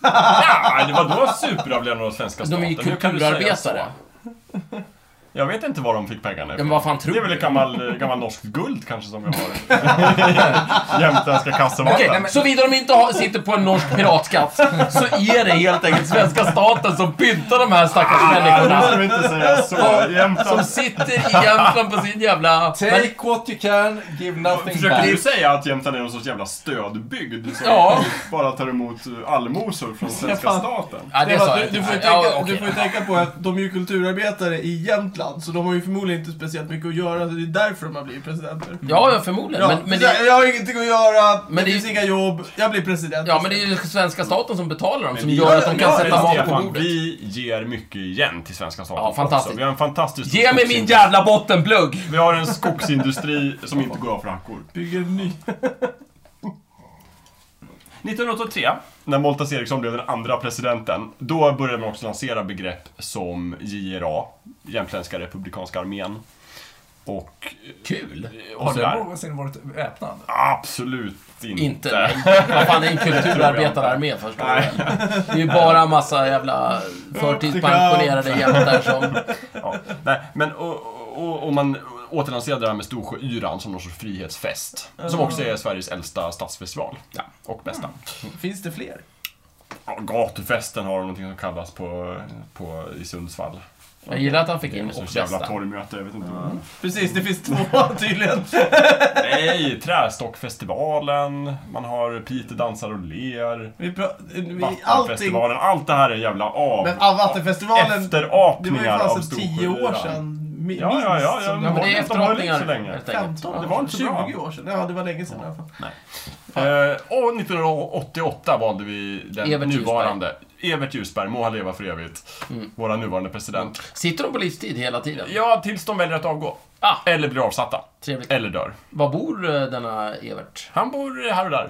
[SPEAKER 3] Ja, Ah, det var då superavlönade av svenska
[SPEAKER 2] De
[SPEAKER 3] staten.
[SPEAKER 2] är ju
[SPEAKER 3] Hur kan du säga
[SPEAKER 2] kulturarbetare.
[SPEAKER 3] så? Jag vet inte var de fick pengarna
[SPEAKER 2] Ja, men vad fan tror
[SPEAKER 3] Det är väl
[SPEAKER 2] du?
[SPEAKER 3] ett gammal, eh, gammal norskt guld kanske som
[SPEAKER 2] (laughs)
[SPEAKER 3] vi har. Jämtländska kassavallen.
[SPEAKER 2] Okej, såvida de inte har, sitter på en norsk piratskatt så är det helt enkelt svenska staten som pyntar de här stackars
[SPEAKER 3] Nu
[SPEAKER 2] människorna.
[SPEAKER 3] ska Ah, vi inte säga så.
[SPEAKER 2] Som
[SPEAKER 3] Jämtland...
[SPEAKER 2] sitter i Jämtland på sin jävla...
[SPEAKER 5] Take what you can, give nothing
[SPEAKER 3] Försöker du
[SPEAKER 5] back.
[SPEAKER 3] säga att Jämtland är någon sorts jävla stödbygd som
[SPEAKER 2] Ja.
[SPEAKER 3] bara tar emot allmosor från svenska
[SPEAKER 1] fan.
[SPEAKER 3] staten?
[SPEAKER 2] Ja, det
[SPEAKER 1] Stefan,
[SPEAKER 2] sa jag
[SPEAKER 1] du, du,
[SPEAKER 2] inte.
[SPEAKER 1] får ju tänka,
[SPEAKER 2] Ja, okej.
[SPEAKER 1] du får ju tänka på att de är ju kulturarbetare i Jämtland, så de har ju förmodligen inte speciellt mycket att göra. Så det är därför de har blivit presidenter.
[SPEAKER 2] Ja, ja, förmodligen.
[SPEAKER 1] Ja,
[SPEAKER 2] men, men,
[SPEAKER 1] så här,
[SPEAKER 2] det,
[SPEAKER 1] Jag har ingenting att göra,
[SPEAKER 2] Men
[SPEAKER 1] det
[SPEAKER 2] det-
[SPEAKER 1] finns inga jobb, jag blir president.
[SPEAKER 2] ja, men det är ju svenska staten som betalar dem, som
[SPEAKER 3] vi-
[SPEAKER 2] gör att de kan
[SPEAKER 1] ja,
[SPEAKER 2] sätta
[SPEAKER 3] Men
[SPEAKER 2] mat på
[SPEAKER 3] Stefan,
[SPEAKER 2] bordet.
[SPEAKER 3] Vi ger mycket igen till svenska staten
[SPEAKER 2] Ja, fantastiskt.
[SPEAKER 3] också. Vi har en fantastisk
[SPEAKER 2] Ge mig min
[SPEAKER 3] skogsindustri.
[SPEAKER 2] jävla bottenplugg!
[SPEAKER 3] Vi har en skogsindustri som inte går av för hackor.
[SPEAKER 1] Bygger en ny.
[SPEAKER 3] 1983, när Moltas Eriksson blev den andra presidenten, då började man också lansera begrepp som JRA, Jämtländska Republikanska Armén. Och,
[SPEAKER 2] Kul!
[SPEAKER 3] och
[SPEAKER 5] Har du
[SPEAKER 3] sådär.
[SPEAKER 5] någonsin varit väpnad?
[SPEAKER 3] Absolut inte.
[SPEAKER 2] Inte, nej. Vad fan är en kulturarbetararmé förstår
[SPEAKER 3] Nej.
[SPEAKER 2] du? Det är ju bara en massa jävla förtidspensionerade jämtar som...
[SPEAKER 3] Ja, nej, men och, och- och, och man återlanserade det här med Storsjöyran som någon sorts frihetsfest. Som också är Sveriges äldsta stadsfestival.
[SPEAKER 2] Ah. Ja.
[SPEAKER 3] Och bästa.
[SPEAKER 1] Finns det fler?
[SPEAKER 3] Ja, gatufesten har de någonting som kallas på, på, i Sundsvall.
[SPEAKER 2] Jag gillar att han fick
[SPEAKER 3] Det är
[SPEAKER 2] in
[SPEAKER 3] något
[SPEAKER 2] och
[SPEAKER 3] sorts jävla
[SPEAKER 2] bästa.
[SPEAKER 3] torgmöte, jag vet inte.
[SPEAKER 1] Mm. Precis, det finns
[SPEAKER 2] (laughs)
[SPEAKER 1] två tydligen.
[SPEAKER 3] Nej, Trästockfestivalen, man har Piteå dansar och ler,
[SPEAKER 1] Vi pra- vi, allting.
[SPEAKER 3] Vattenfestivalen, allt det här är jävla av...
[SPEAKER 1] Men ah, Vattenfestivalen, det var ju
[SPEAKER 3] Efterapningar av
[SPEAKER 1] fan sedan 10 år
[SPEAKER 3] Storsjöyran.
[SPEAKER 1] sedan. mi- Minst.
[SPEAKER 3] Ja, ja, ja, ja,
[SPEAKER 1] som
[SPEAKER 2] Ja,
[SPEAKER 1] det
[SPEAKER 2] men
[SPEAKER 1] var.
[SPEAKER 2] det är
[SPEAKER 3] De har levt så
[SPEAKER 2] efterhoppningar.
[SPEAKER 3] länge.
[SPEAKER 2] helt enkelt.
[SPEAKER 1] 15
[SPEAKER 3] Det var inte så
[SPEAKER 1] 20
[SPEAKER 3] bra.
[SPEAKER 1] år sedan. Ja, det var länge sedan i alla fall.
[SPEAKER 3] Eh, och 1988 valde vi den
[SPEAKER 2] Evert
[SPEAKER 3] nuvarande Evert Ljusberg, må han leva för evigt,
[SPEAKER 2] Mm.
[SPEAKER 3] våra nuvarande president.
[SPEAKER 2] Sitter de på livstid hela tiden?
[SPEAKER 3] Ja, tills de väljer att avgå.
[SPEAKER 2] Ah,
[SPEAKER 3] Eller blir avsatta.
[SPEAKER 2] trevligt.
[SPEAKER 3] Eller dör.
[SPEAKER 2] Var bor eh, denna Evert?
[SPEAKER 3] Han bor här och där.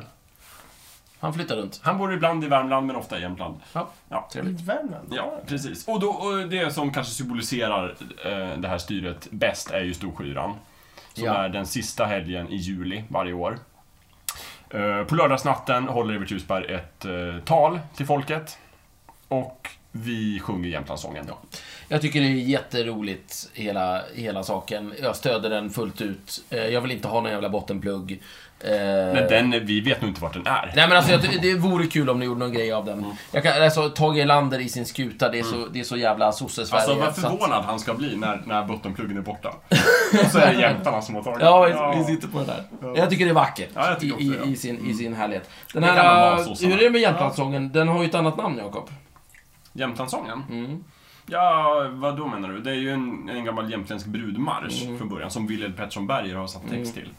[SPEAKER 2] Han flyttar runt.
[SPEAKER 3] Han bor ibland i Värmland, men ofta i Jämtland.
[SPEAKER 2] Ja,
[SPEAKER 3] Ja.
[SPEAKER 1] I
[SPEAKER 2] trevligt.
[SPEAKER 1] Värmland?
[SPEAKER 3] Ja, precis. Och, då, och det som kanske symboliserar eh, det här styret bäst är ju Storsjöyran. Som
[SPEAKER 2] Ja.
[SPEAKER 3] är den sista helgen i juli varje år. Eh, på lördagsnatten håller Evert Ljusberg ett eh, tal till folket. Och vi sjunger Jämtlandssången.
[SPEAKER 2] Jag tycker det är jätteroligt, hela, hela saken. Jag stöder den fullt ut. Eh, Jag vill inte ha någon jävla bottenplugg. Eh,
[SPEAKER 3] Men den, vi vet nog inte vart den är.
[SPEAKER 2] Nej men alltså jag, ty- det vore kul om ni gjorde någon grej av
[SPEAKER 3] Mm.
[SPEAKER 2] den. Jag kan, alltså, Tage Erlander i sin skuta, det är så, det är så jävla sosse-Sverige.
[SPEAKER 3] Alltså vad
[SPEAKER 2] så att-
[SPEAKER 3] förvånad han ska bli när, när bottenpluggen är borta. Och så
[SPEAKER 2] (laughs)
[SPEAKER 3] är det jämtarna som har tagit
[SPEAKER 2] Ja,
[SPEAKER 3] den.
[SPEAKER 2] vi sitter på det där. Jag tycker det är vackert
[SPEAKER 3] Ja, jag tycker
[SPEAKER 2] i,
[SPEAKER 3] också
[SPEAKER 2] i,
[SPEAKER 3] det.
[SPEAKER 2] i, sin, i sin härlighet. Den
[SPEAKER 3] Det kan man
[SPEAKER 2] här,
[SPEAKER 3] vara
[SPEAKER 2] eh,
[SPEAKER 3] sossarna.
[SPEAKER 2] hur är det med Jämtlandssången? Den har ju ett annat namn, Jakob.
[SPEAKER 3] Jämtlandssången?
[SPEAKER 2] Mm.
[SPEAKER 3] Ja, vad då menar du? Det är ju en, en gammal jämtländsk brudmarsch från början som Wilhelm Pettersson Berger har satt text till.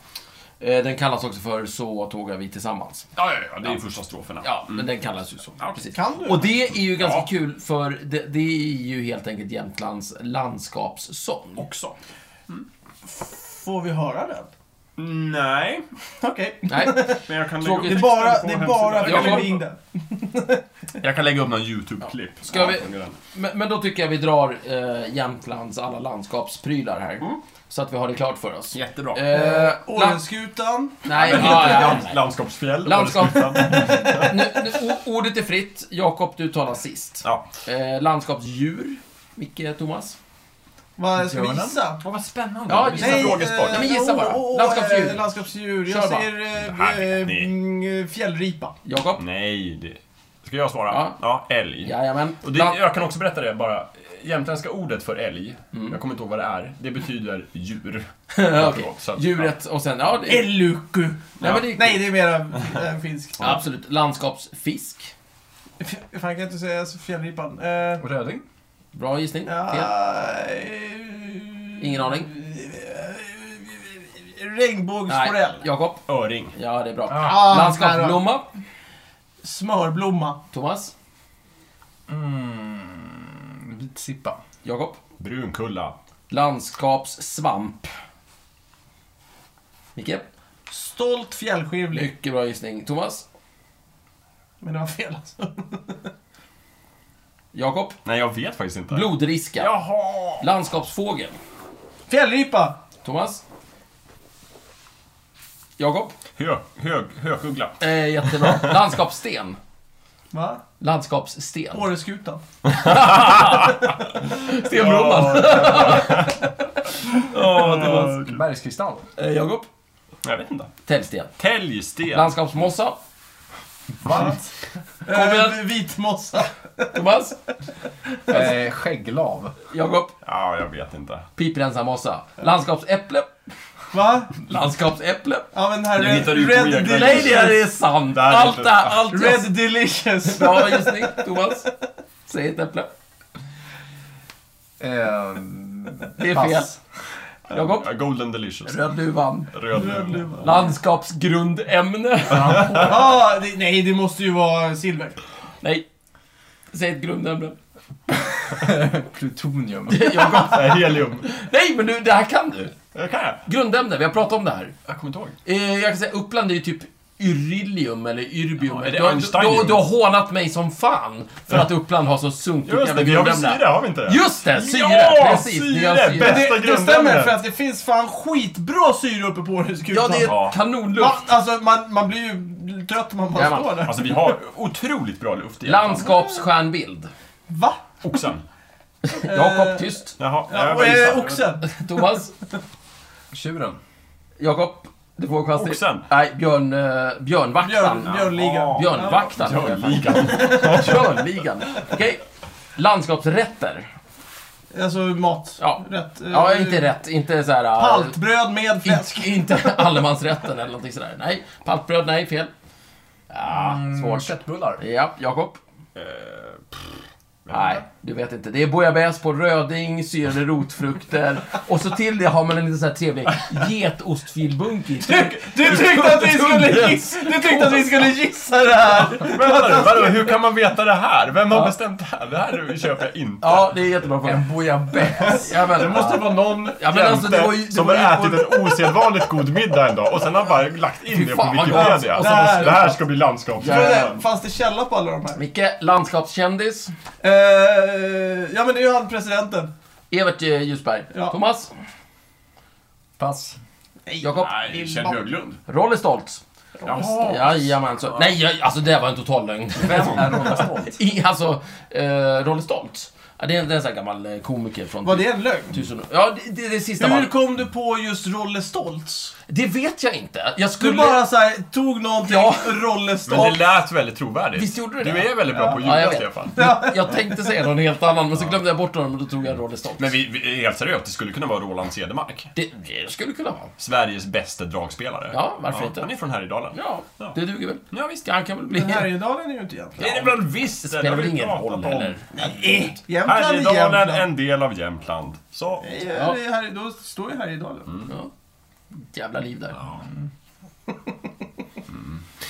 [SPEAKER 2] Eh, Den kallas också för Så tågar vi tillsammans.
[SPEAKER 3] Ja, ja, ja, det är ju första stroferna.
[SPEAKER 2] Ja, men den kallas ju så.
[SPEAKER 3] Ja,
[SPEAKER 2] Precis.
[SPEAKER 1] Kan du?
[SPEAKER 2] Och det är ju ganska
[SPEAKER 3] Ja.
[SPEAKER 2] kul, för det, det är ju helt enkelt Jämtlands landskapssång.
[SPEAKER 3] Också.
[SPEAKER 1] Får vi höra den?
[SPEAKER 3] Nej,
[SPEAKER 1] Okej.
[SPEAKER 2] Nej,
[SPEAKER 3] men jag kan
[SPEAKER 2] Tråkigt.
[SPEAKER 1] Det är
[SPEAKER 3] texten
[SPEAKER 1] bara, det är bara
[SPEAKER 3] på hemsidan. jag,
[SPEAKER 1] för
[SPEAKER 2] Jakob.
[SPEAKER 1] att in den.
[SPEAKER 3] kan, jag kan lägga upp någon YouTube-klipp.
[SPEAKER 2] Ska
[SPEAKER 3] Ja,
[SPEAKER 2] vi-
[SPEAKER 3] från den.
[SPEAKER 2] men, men då tycker jag vi drar eh, Jämtlands alla landskapsprylar här. Så att vi har det klart för oss.
[SPEAKER 3] Jättebra.
[SPEAKER 2] Eh, land...
[SPEAKER 1] Årenskutan.
[SPEAKER 2] Nej, ja, ja, ja.
[SPEAKER 3] Land- Landskapsfjäll.
[SPEAKER 2] Landskap.
[SPEAKER 3] var det slutat.
[SPEAKER 2] Nu, nu, o- ordet är fritt. Jakob, du talar sist.
[SPEAKER 3] ja.
[SPEAKER 2] Eh, landskapsdjur. Micke, Thomas.
[SPEAKER 1] Vad ska vi
[SPEAKER 5] Björnen?
[SPEAKER 1] gissa?
[SPEAKER 3] vad spännande.
[SPEAKER 2] Ja,
[SPEAKER 3] Ja,
[SPEAKER 2] gissa.
[SPEAKER 3] Nej,
[SPEAKER 1] eh,
[SPEAKER 3] frågesport.
[SPEAKER 2] Nej, men gissa bara.
[SPEAKER 1] åh, åh,
[SPEAKER 2] Landskapsdjur.
[SPEAKER 1] eh, Landskapsdjur.
[SPEAKER 2] Kör
[SPEAKER 1] Jag
[SPEAKER 2] bara.
[SPEAKER 1] säger
[SPEAKER 3] Det
[SPEAKER 1] eh,
[SPEAKER 3] här
[SPEAKER 1] eh,
[SPEAKER 3] vet ni.
[SPEAKER 1] mm, fjällripa.
[SPEAKER 3] Mm.
[SPEAKER 2] Jakob?
[SPEAKER 3] Nej, det... Ska jag svara?
[SPEAKER 2] Ja.
[SPEAKER 3] Ja, älg.
[SPEAKER 2] Jajamän.
[SPEAKER 3] Och det,
[SPEAKER 2] Land-
[SPEAKER 3] jag kan också berätta det bara. Jämtländska ordet för älg, jag kommer inte ihåg vad det är, det betyder djur.
[SPEAKER 2] Okej. Djuret och sen... Ja, det...
[SPEAKER 1] Elluku.
[SPEAKER 2] Nej, men det är...
[SPEAKER 1] Nej, det är mera äh, finskt.
[SPEAKER 2] Absolut. Landskapsfisk.
[SPEAKER 1] F- Fan, kan jag inte säga så- fjällripan? Eh,
[SPEAKER 5] Och Röding?
[SPEAKER 2] Bra gissning. Fel.
[SPEAKER 1] ja, eh,
[SPEAKER 2] Ingen aning.
[SPEAKER 1] Regnbågsporell.
[SPEAKER 2] Jakob.
[SPEAKER 3] Öring.
[SPEAKER 2] Ja, det är bra.
[SPEAKER 1] Ah, nära.
[SPEAKER 2] Landskapsblomma.
[SPEAKER 1] Smörblomma.
[SPEAKER 2] Thomas.
[SPEAKER 5] Mm, vitsippa.
[SPEAKER 2] Jakob.
[SPEAKER 3] Brunkulla.
[SPEAKER 2] Landskapssvamp. Micke.
[SPEAKER 1] Stolt fjällskivling.
[SPEAKER 2] Mycket bra gissning. Thomas.
[SPEAKER 1] Men det var fel alltså.
[SPEAKER 2] Jakob.
[SPEAKER 3] Nej, jag vet faktiskt inte.
[SPEAKER 2] Blodriska.
[SPEAKER 3] Jaha!
[SPEAKER 2] Landskapsfågel.
[SPEAKER 1] Fjällripa.
[SPEAKER 2] Thomas? Jakob?
[SPEAKER 3] Hö, hög, hökuggla.
[SPEAKER 2] Eh, jättebra. (laughs) Landskapssten.
[SPEAKER 1] Va?
[SPEAKER 2] Landskapssten.
[SPEAKER 1] Åreskutan.
[SPEAKER 2] Stenblomman.
[SPEAKER 3] Ja,
[SPEAKER 5] Bergskristall.
[SPEAKER 2] Eh, Jakob?
[SPEAKER 3] jag vet inte.
[SPEAKER 2] Täljsten.
[SPEAKER 3] Täljsten.
[SPEAKER 2] Landskapsmossa.
[SPEAKER 5] Vant.
[SPEAKER 2] Kom igen.
[SPEAKER 1] Eh, vitmossa.
[SPEAKER 2] Thomas?
[SPEAKER 5] (laughs) Eh, skägglav.
[SPEAKER 2] Jakob?
[SPEAKER 3] Ja, jag vet inte.
[SPEAKER 2] Piprensarmossa. Landskapsäpple.
[SPEAKER 1] Va?
[SPEAKER 2] Landskapsäpple.
[SPEAKER 1] Ja men här,
[SPEAKER 3] Nu
[SPEAKER 1] Red,
[SPEAKER 3] hittar du på egna
[SPEAKER 1] red
[SPEAKER 2] Nej, det
[SPEAKER 1] Delicious.
[SPEAKER 2] är sant.
[SPEAKER 3] Det här är
[SPEAKER 2] Allt
[SPEAKER 3] inte-
[SPEAKER 2] det här, allt jag-
[SPEAKER 1] Red
[SPEAKER 3] (laughs)
[SPEAKER 1] Delicious.
[SPEAKER 2] Bra gissning, Thomas. Säg ett äpple.
[SPEAKER 5] Eh,
[SPEAKER 2] Det är
[SPEAKER 5] pass.
[SPEAKER 2] Jakob?
[SPEAKER 3] Ja, Golden delicious.
[SPEAKER 2] Rödluvan.
[SPEAKER 3] Röd luva.
[SPEAKER 1] Rödluva.
[SPEAKER 2] Landskapsgrundämne.
[SPEAKER 1] Ah, det, nej, det måste ju vara silver.
[SPEAKER 2] Nej. Säg ett grundämne.
[SPEAKER 5] Plutonium.
[SPEAKER 3] (laughs)
[SPEAKER 2] Jakob?
[SPEAKER 3] Nej, helium.
[SPEAKER 2] Nej, men du, det här kan du.
[SPEAKER 3] Det kan jag.
[SPEAKER 2] Grundämne, vi har pratat om det här.
[SPEAKER 3] Jag kommer inte ihåg.
[SPEAKER 2] Eh, jag kan säga Uppland är ju typ Yrilium eller Yrbium.
[SPEAKER 3] Ja, är det
[SPEAKER 2] du, har- du,
[SPEAKER 3] Einsteinium?
[SPEAKER 2] du, du har hånat mig som fan för att Uppland har så sunkigt
[SPEAKER 3] Just det, vi har väl syre, har vi inte det?
[SPEAKER 2] Just det, syre!
[SPEAKER 3] Ja,
[SPEAKER 2] precis, ni har
[SPEAKER 3] syre,
[SPEAKER 2] syre.
[SPEAKER 3] bäst!
[SPEAKER 1] Det, det
[SPEAKER 3] grundämnet.
[SPEAKER 1] stämmer för att det finns fan skitbra syre uppe på
[SPEAKER 2] Ja,
[SPEAKER 1] Åreskutan.
[SPEAKER 2] det är
[SPEAKER 3] Ja.
[SPEAKER 1] man,
[SPEAKER 2] kanonluft.
[SPEAKER 1] alltså, man, man blir ju trött om man bara
[SPEAKER 2] Jajamän.
[SPEAKER 1] står där.
[SPEAKER 3] Alltså, vi har otroligt bra luft i
[SPEAKER 2] Landskapsstjärnbild.
[SPEAKER 1] Va?
[SPEAKER 3] Oxen.
[SPEAKER 2] Jakob, tyst.
[SPEAKER 3] Jaha,
[SPEAKER 1] Ja,
[SPEAKER 3] jag
[SPEAKER 1] och,
[SPEAKER 3] bara
[SPEAKER 1] eh,
[SPEAKER 3] gissar.
[SPEAKER 1] oxen.
[SPEAKER 2] Thomas.
[SPEAKER 5] Tjuren.
[SPEAKER 2] Jakob. Du får chans till.
[SPEAKER 3] Oxen.
[SPEAKER 2] Nej, björn, eh, björnvaktaren.
[SPEAKER 1] Björn, björnligan.
[SPEAKER 3] Ja.
[SPEAKER 2] Björnvaktaren.
[SPEAKER 3] Björnligan.
[SPEAKER 2] Björnligan. Okej. Landskapsrätter.
[SPEAKER 1] Alltså mat.
[SPEAKER 2] Ja.
[SPEAKER 1] Rätt. eh,
[SPEAKER 2] Ja, inte rätt. Inte så här... eh,
[SPEAKER 1] Paltbröd med fläsk.
[SPEAKER 2] in- (laughs) Inte allemansrätten eller någonting sådär. Nej. Paltbröd, nej, fel. Ja, svårt.
[SPEAKER 5] Köttbullar.
[SPEAKER 2] Ja, Jakob.
[SPEAKER 3] Eh, pff,
[SPEAKER 2] Nej, du vet inte. Det är bouillabaisse på röding, syrade rotfrukter och så till det har man en liten så här trevlig getostfilbunk i.
[SPEAKER 1] Du, du, tyckte att vi skulle gissa, du tyckte att vi skulle gissa det här!
[SPEAKER 3] Vänta nu, vadå, hur kan man veta det här? Vem har bestämt det här? Det här köper jag inte.
[SPEAKER 2] Ja, det är jättebra fråga.
[SPEAKER 5] En bouillabaisse.
[SPEAKER 2] Ja, men,
[SPEAKER 3] Det måste vara någon
[SPEAKER 2] men
[SPEAKER 3] jämte
[SPEAKER 2] alltså, det var ju- det
[SPEAKER 3] som
[SPEAKER 2] var
[SPEAKER 3] har
[SPEAKER 2] ju
[SPEAKER 3] ätit en osedvanligt god middag en dag och sen har bara lagt in
[SPEAKER 2] Fy
[SPEAKER 3] det på
[SPEAKER 2] fan, vad
[SPEAKER 3] Wikipedia.
[SPEAKER 2] gott.
[SPEAKER 3] Och
[SPEAKER 1] Det
[SPEAKER 3] så måste,
[SPEAKER 1] här-
[SPEAKER 3] det här ska bli landskap.
[SPEAKER 1] Tror du det- Fanns det källa på alla de här?
[SPEAKER 2] Micke, landskapskändis.
[SPEAKER 1] Eh, ja men det är ju han presidenten.
[SPEAKER 2] Evert eh, Ljusberg.
[SPEAKER 1] Ja.
[SPEAKER 2] Thomas.
[SPEAKER 5] Pass.
[SPEAKER 2] Jakob.
[SPEAKER 3] Nej, Kjell Höglund.
[SPEAKER 2] Rolly Stoltz.
[SPEAKER 3] Jaha.
[SPEAKER 2] Jajamän. Så. Nej, jag, alltså det var en total lögn.
[SPEAKER 5] Vem är Roland
[SPEAKER 2] (laughs)
[SPEAKER 5] Stolt?
[SPEAKER 2] I, alltså, eh, Rolly Stoltz. Ja, det är en, det är en sån här gammal eh, komiker från...
[SPEAKER 1] Var det en
[SPEAKER 3] Typ.
[SPEAKER 1] lögn?
[SPEAKER 2] Tusen... Ja, det, det är det sista
[SPEAKER 1] Hur
[SPEAKER 2] man...
[SPEAKER 1] kom du på just Rolle Stoltz?
[SPEAKER 2] Det vet jag inte. Jag
[SPEAKER 1] Du
[SPEAKER 2] skulle...
[SPEAKER 1] bara så här, tog någonting,
[SPEAKER 2] Ja.
[SPEAKER 1] Rolle
[SPEAKER 3] Men det
[SPEAKER 1] Stoltz.
[SPEAKER 3] lät väldigt trovärdigt.
[SPEAKER 2] Visst gjorde det
[SPEAKER 3] Du
[SPEAKER 2] det?
[SPEAKER 3] är väldigt bra på att
[SPEAKER 2] Ja, jag
[SPEAKER 3] ljuga,
[SPEAKER 2] vet.
[SPEAKER 3] Stefan.
[SPEAKER 2] Jag tänkte säga någon helt annan, men så glömde jag bort honom och då tog jag Rolly Stoltz.
[SPEAKER 3] Men vi, vi är helt seriöst, det skulle kunna vara Roland Cedermark.
[SPEAKER 2] Det, det skulle kunna vara.
[SPEAKER 3] Sveriges bästa dragspelare.
[SPEAKER 2] Ja, varför inte?
[SPEAKER 3] Han är från Härjedalen.
[SPEAKER 2] Ja,
[SPEAKER 3] Ja.
[SPEAKER 2] det duger väl.
[SPEAKER 3] Ja, visst.
[SPEAKER 2] Han kan väl bli...
[SPEAKER 1] Härjedalen är ju inte Jämtland.
[SPEAKER 3] Det är det väl visst!
[SPEAKER 2] Det
[SPEAKER 3] det
[SPEAKER 2] spelar
[SPEAKER 3] har vi
[SPEAKER 2] väl ingen
[SPEAKER 3] pratat om.
[SPEAKER 2] roll heller.
[SPEAKER 1] Nej, Jämtland är
[SPEAKER 3] Härjedalen,
[SPEAKER 1] Jämtland.
[SPEAKER 3] en del av Jämtland. Så.
[SPEAKER 1] Nej, det är här, då står ju Härjedalen.
[SPEAKER 3] Mm.
[SPEAKER 2] Ja. Jävla liv där.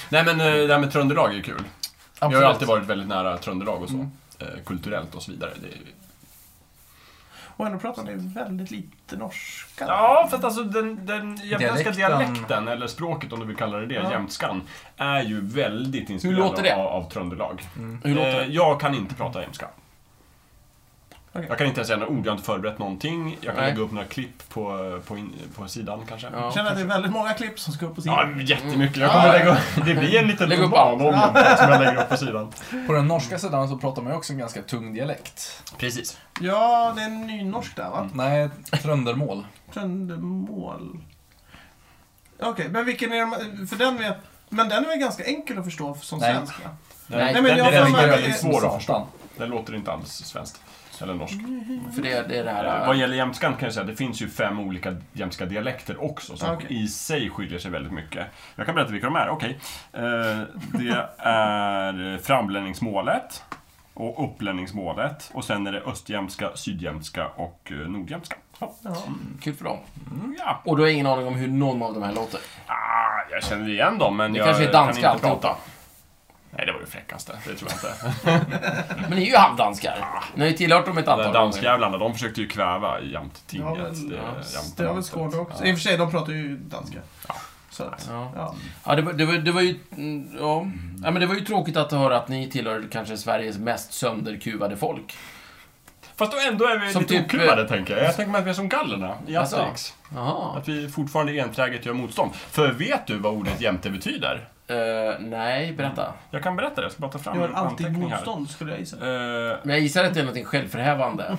[SPEAKER 3] Nej men eh, det här med Tröndelag är ju kul. Jag har ju
[SPEAKER 5] Absolut.
[SPEAKER 3] alltid varit väldigt nära Tröndelag och så. Eh, Kulturellt och så vidare. Det är...
[SPEAKER 1] Och ändå pratar ni väldigt lite norska.
[SPEAKER 3] Ja, fast alltså den, den jämtländska
[SPEAKER 5] Dialekten.
[SPEAKER 3] dialekten, eller språket om du vill kalla det det, jämtskan, är ju väldigt
[SPEAKER 2] Hur låter
[SPEAKER 3] inspirerad
[SPEAKER 2] det?
[SPEAKER 3] av, av Tröndelag.
[SPEAKER 2] Hur låter
[SPEAKER 3] Eh,
[SPEAKER 2] det?
[SPEAKER 3] Jag kan inte prata jämtska.
[SPEAKER 1] Okej.
[SPEAKER 3] Jag kan inte ens säga några ord, jag har inte förberett någonting. Jag kan
[SPEAKER 2] Nej.
[SPEAKER 3] lägga upp några klipp på, på, in, på sidan kanske.
[SPEAKER 2] Ja.
[SPEAKER 1] Jag känner att det är väldigt många klipp som ska upp på
[SPEAKER 3] Ja,
[SPEAKER 1] sidan.
[SPEAKER 3] jättemycket. Jag kommer
[SPEAKER 2] Ja.
[SPEAKER 3] lägga upp, det blir en liten
[SPEAKER 2] Lägg upp
[SPEAKER 3] roman om det som jag lägger upp på sidan.
[SPEAKER 5] På den norska sidan så pratar man ju också en ganska tung dialekt.
[SPEAKER 3] Precis.
[SPEAKER 1] Ja, det är en nynorsk där
[SPEAKER 3] Mm.
[SPEAKER 1] va?
[SPEAKER 5] Nej, tröndermål.
[SPEAKER 1] Tröndemål. Okej, men vilken är de, för den vet, men den är väl ganska enkel att förstå som
[SPEAKER 5] Nej.
[SPEAKER 1] svenska?
[SPEAKER 2] Nej,
[SPEAKER 1] men jag
[SPEAKER 3] den,
[SPEAKER 1] har
[SPEAKER 3] den,
[SPEAKER 1] för
[SPEAKER 3] den är
[SPEAKER 1] mig-
[SPEAKER 3] väldigt svår att förstå. Den låter inte alls svenskt. Eller norsk.
[SPEAKER 1] Mm.
[SPEAKER 2] För det, det är det
[SPEAKER 3] Eh,
[SPEAKER 2] här...
[SPEAKER 3] Vad gäller jämtskan kan jag säga att det finns ju fem olika jämtska dialekter också som
[SPEAKER 1] Okej.
[SPEAKER 3] i sig skiljer sig väldigt mycket. Jag kan berätta vilka de är. Okej. Eh, Det är framlänningsmålet och upplänningsmålet och sen är det östjämtska, sydjämtska och eh, nordjämtska. Ja.
[SPEAKER 2] Kul för dem.
[SPEAKER 3] Mm, ja.
[SPEAKER 2] Och du har ingen aning om hur någon av de här låter?
[SPEAKER 3] Ah, jag känner igen dem men
[SPEAKER 2] Det
[SPEAKER 3] jag
[SPEAKER 2] kanske är danska
[SPEAKER 3] kan inte
[SPEAKER 2] alltihopa.
[SPEAKER 3] prata. Nej, det var ju fräckaste. Det tror jag inte.
[SPEAKER 2] Men ni är ju halvdanskar. Ni har ju tillhört dem ett
[SPEAKER 3] De där
[SPEAKER 2] antal gånger.
[SPEAKER 3] danskjävlarna, de försökte ju kväva jämttinget.
[SPEAKER 1] Ja,
[SPEAKER 3] eh,
[SPEAKER 1] men-
[SPEAKER 3] det-
[SPEAKER 1] ja,
[SPEAKER 3] jämtlandet.
[SPEAKER 1] Det var väl Skåne också? I
[SPEAKER 3] Ja.
[SPEAKER 1] och för sig, de pratar ju danska. Så att,
[SPEAKER 2] Ja.
[SPEAKER 1] ja.
[SPEAKER 2] Ja, det var, det var, det var ju... mm, Ja. ja, men det var ju tråkigt att höra att ni tillhör kanske Sveriges mest sönderkuvade folk.
[SPEAKER 3] Fast då ändå är vi
[SPEAKER 2] Som
[SPEAKER 3] lite
[SPEAKER 2] typ,
[SPEAKER 3] okuvade, tänker jag. Jag tänker mig att vi är som gallerna i
[SPEAKER 2] Alltså.
[SPEAKER 3] Asterix.
[SPEAKER 2] Jaha.
[SPEAKER 3] Att vi fortfarande enträget gör motstånd. För vet du vad ordet jämte betyder?
[SPEAKER 2] Eh, nej, berätta.
[SPEAKER 3] Jag kan berätta det, jag ska bara ta fram
[SPEAKER 1] Jag
[SPEAKER 3] en
[SPEAKER 1] har alltid
[SPEAKER 3] anteckning här.
[SPEAKER 1] motstånd skulle jag gissa.
[SPEAKER 3] Eh,
[SPEAKER 2] Men jag gissar att det är något självförhävande.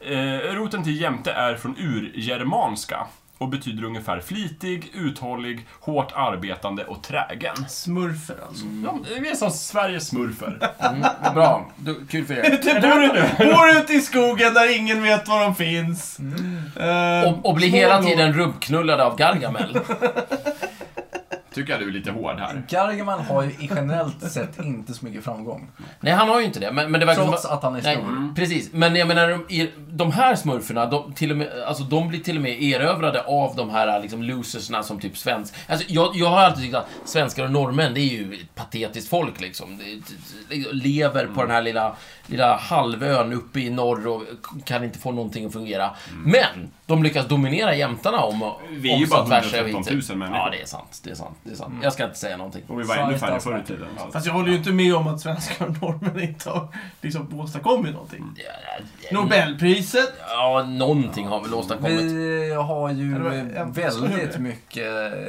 [SPEAKER 3] eh, roten till jämte är från urgermanska och betyder ungefär flitig, uthållig, hårt arbetande och trägen.
[SPEAKER 1] Smurfer alltså. (laughs)
[SPEAKER 3] Ja, vi är som Sveriges smurfer.
[SPEAKER 2] Mm, bra. Du, kul för er.
[SPEAKER 1] Du Typ bor, bor ute i skogen där ingen vet var de finns. Eh,
[SPEAKER 2] Och, och bli
[SPEAKER 1] små
[SPEAKER 2] hela
[SPEAKER 1] lår.
[SPEAKER 2] tiden rubbknullade av Gargamel.
[SPEAKER 3] (laughs) Tycker jag du är lite hård här.
[SPEAKER 5] Gargamel har ju i generellt sett inte så mycket framgång.
[SPEAKER 2] Nej, han har ju inte det. Men, men det verkar som
[SPEAKER 5] Trots att han är
[SPEAKER 2] Nej,
[SPEAKER 5] stor. Mm.
[SPEAKER 2] precis. Men jag menar, de, i- de här smurferna, de, till och med, alltså, de blir till och med erövrade av de här liksom, losersna som typ svensk... Alltså, jag, jag har alltid tyckt att svenskar och norrmän, det är ju ett patetiskt folk liksom. Det- det- det- Lever på den här lilla, lilla halvön uppe i norr och kan inte få någonting att fungera. Men, de lyckas dominera jämtarna om...
[SPEAKER 3] Mm. Vi är
[SPEAKER 2] om
[SPEAKER 3] ju
[SPEAKER 2] så
[SPEAKER 3] bara
[SPEAKER 2] tvärs över
[SPEAKER 3] 113
[SPEAKER 2] hit.
[SPEAKER 3] 000 människor.
[SPEAKER 2] Ja, det är sant. Det är sant. Det är
[SPEAKER 5] Mm.
[SPEAKER 2] sant. Jag ska inte säga någonting.
[SPEAKER 3] Och vi var ännu
[SPEAKER 5] Sveriges
[SPEAKER 3] färre förr i
[SPEAKER 5] dansband.
[SPEAKER 3] tiden. så att-
[SPEAKER 1] Fast jag håller ju inte med om att (laughs) svenskar och norrmän inte har liksom åstadkommit någonting. Nobelpriset.
[SPEAKER 2] Ja, någonting har väl åstadkommit.
[SPEAKER 5] Vi har ju
[SPEAKER 1] Ja, det var en-
[SPEAKER 5] väldigt mycket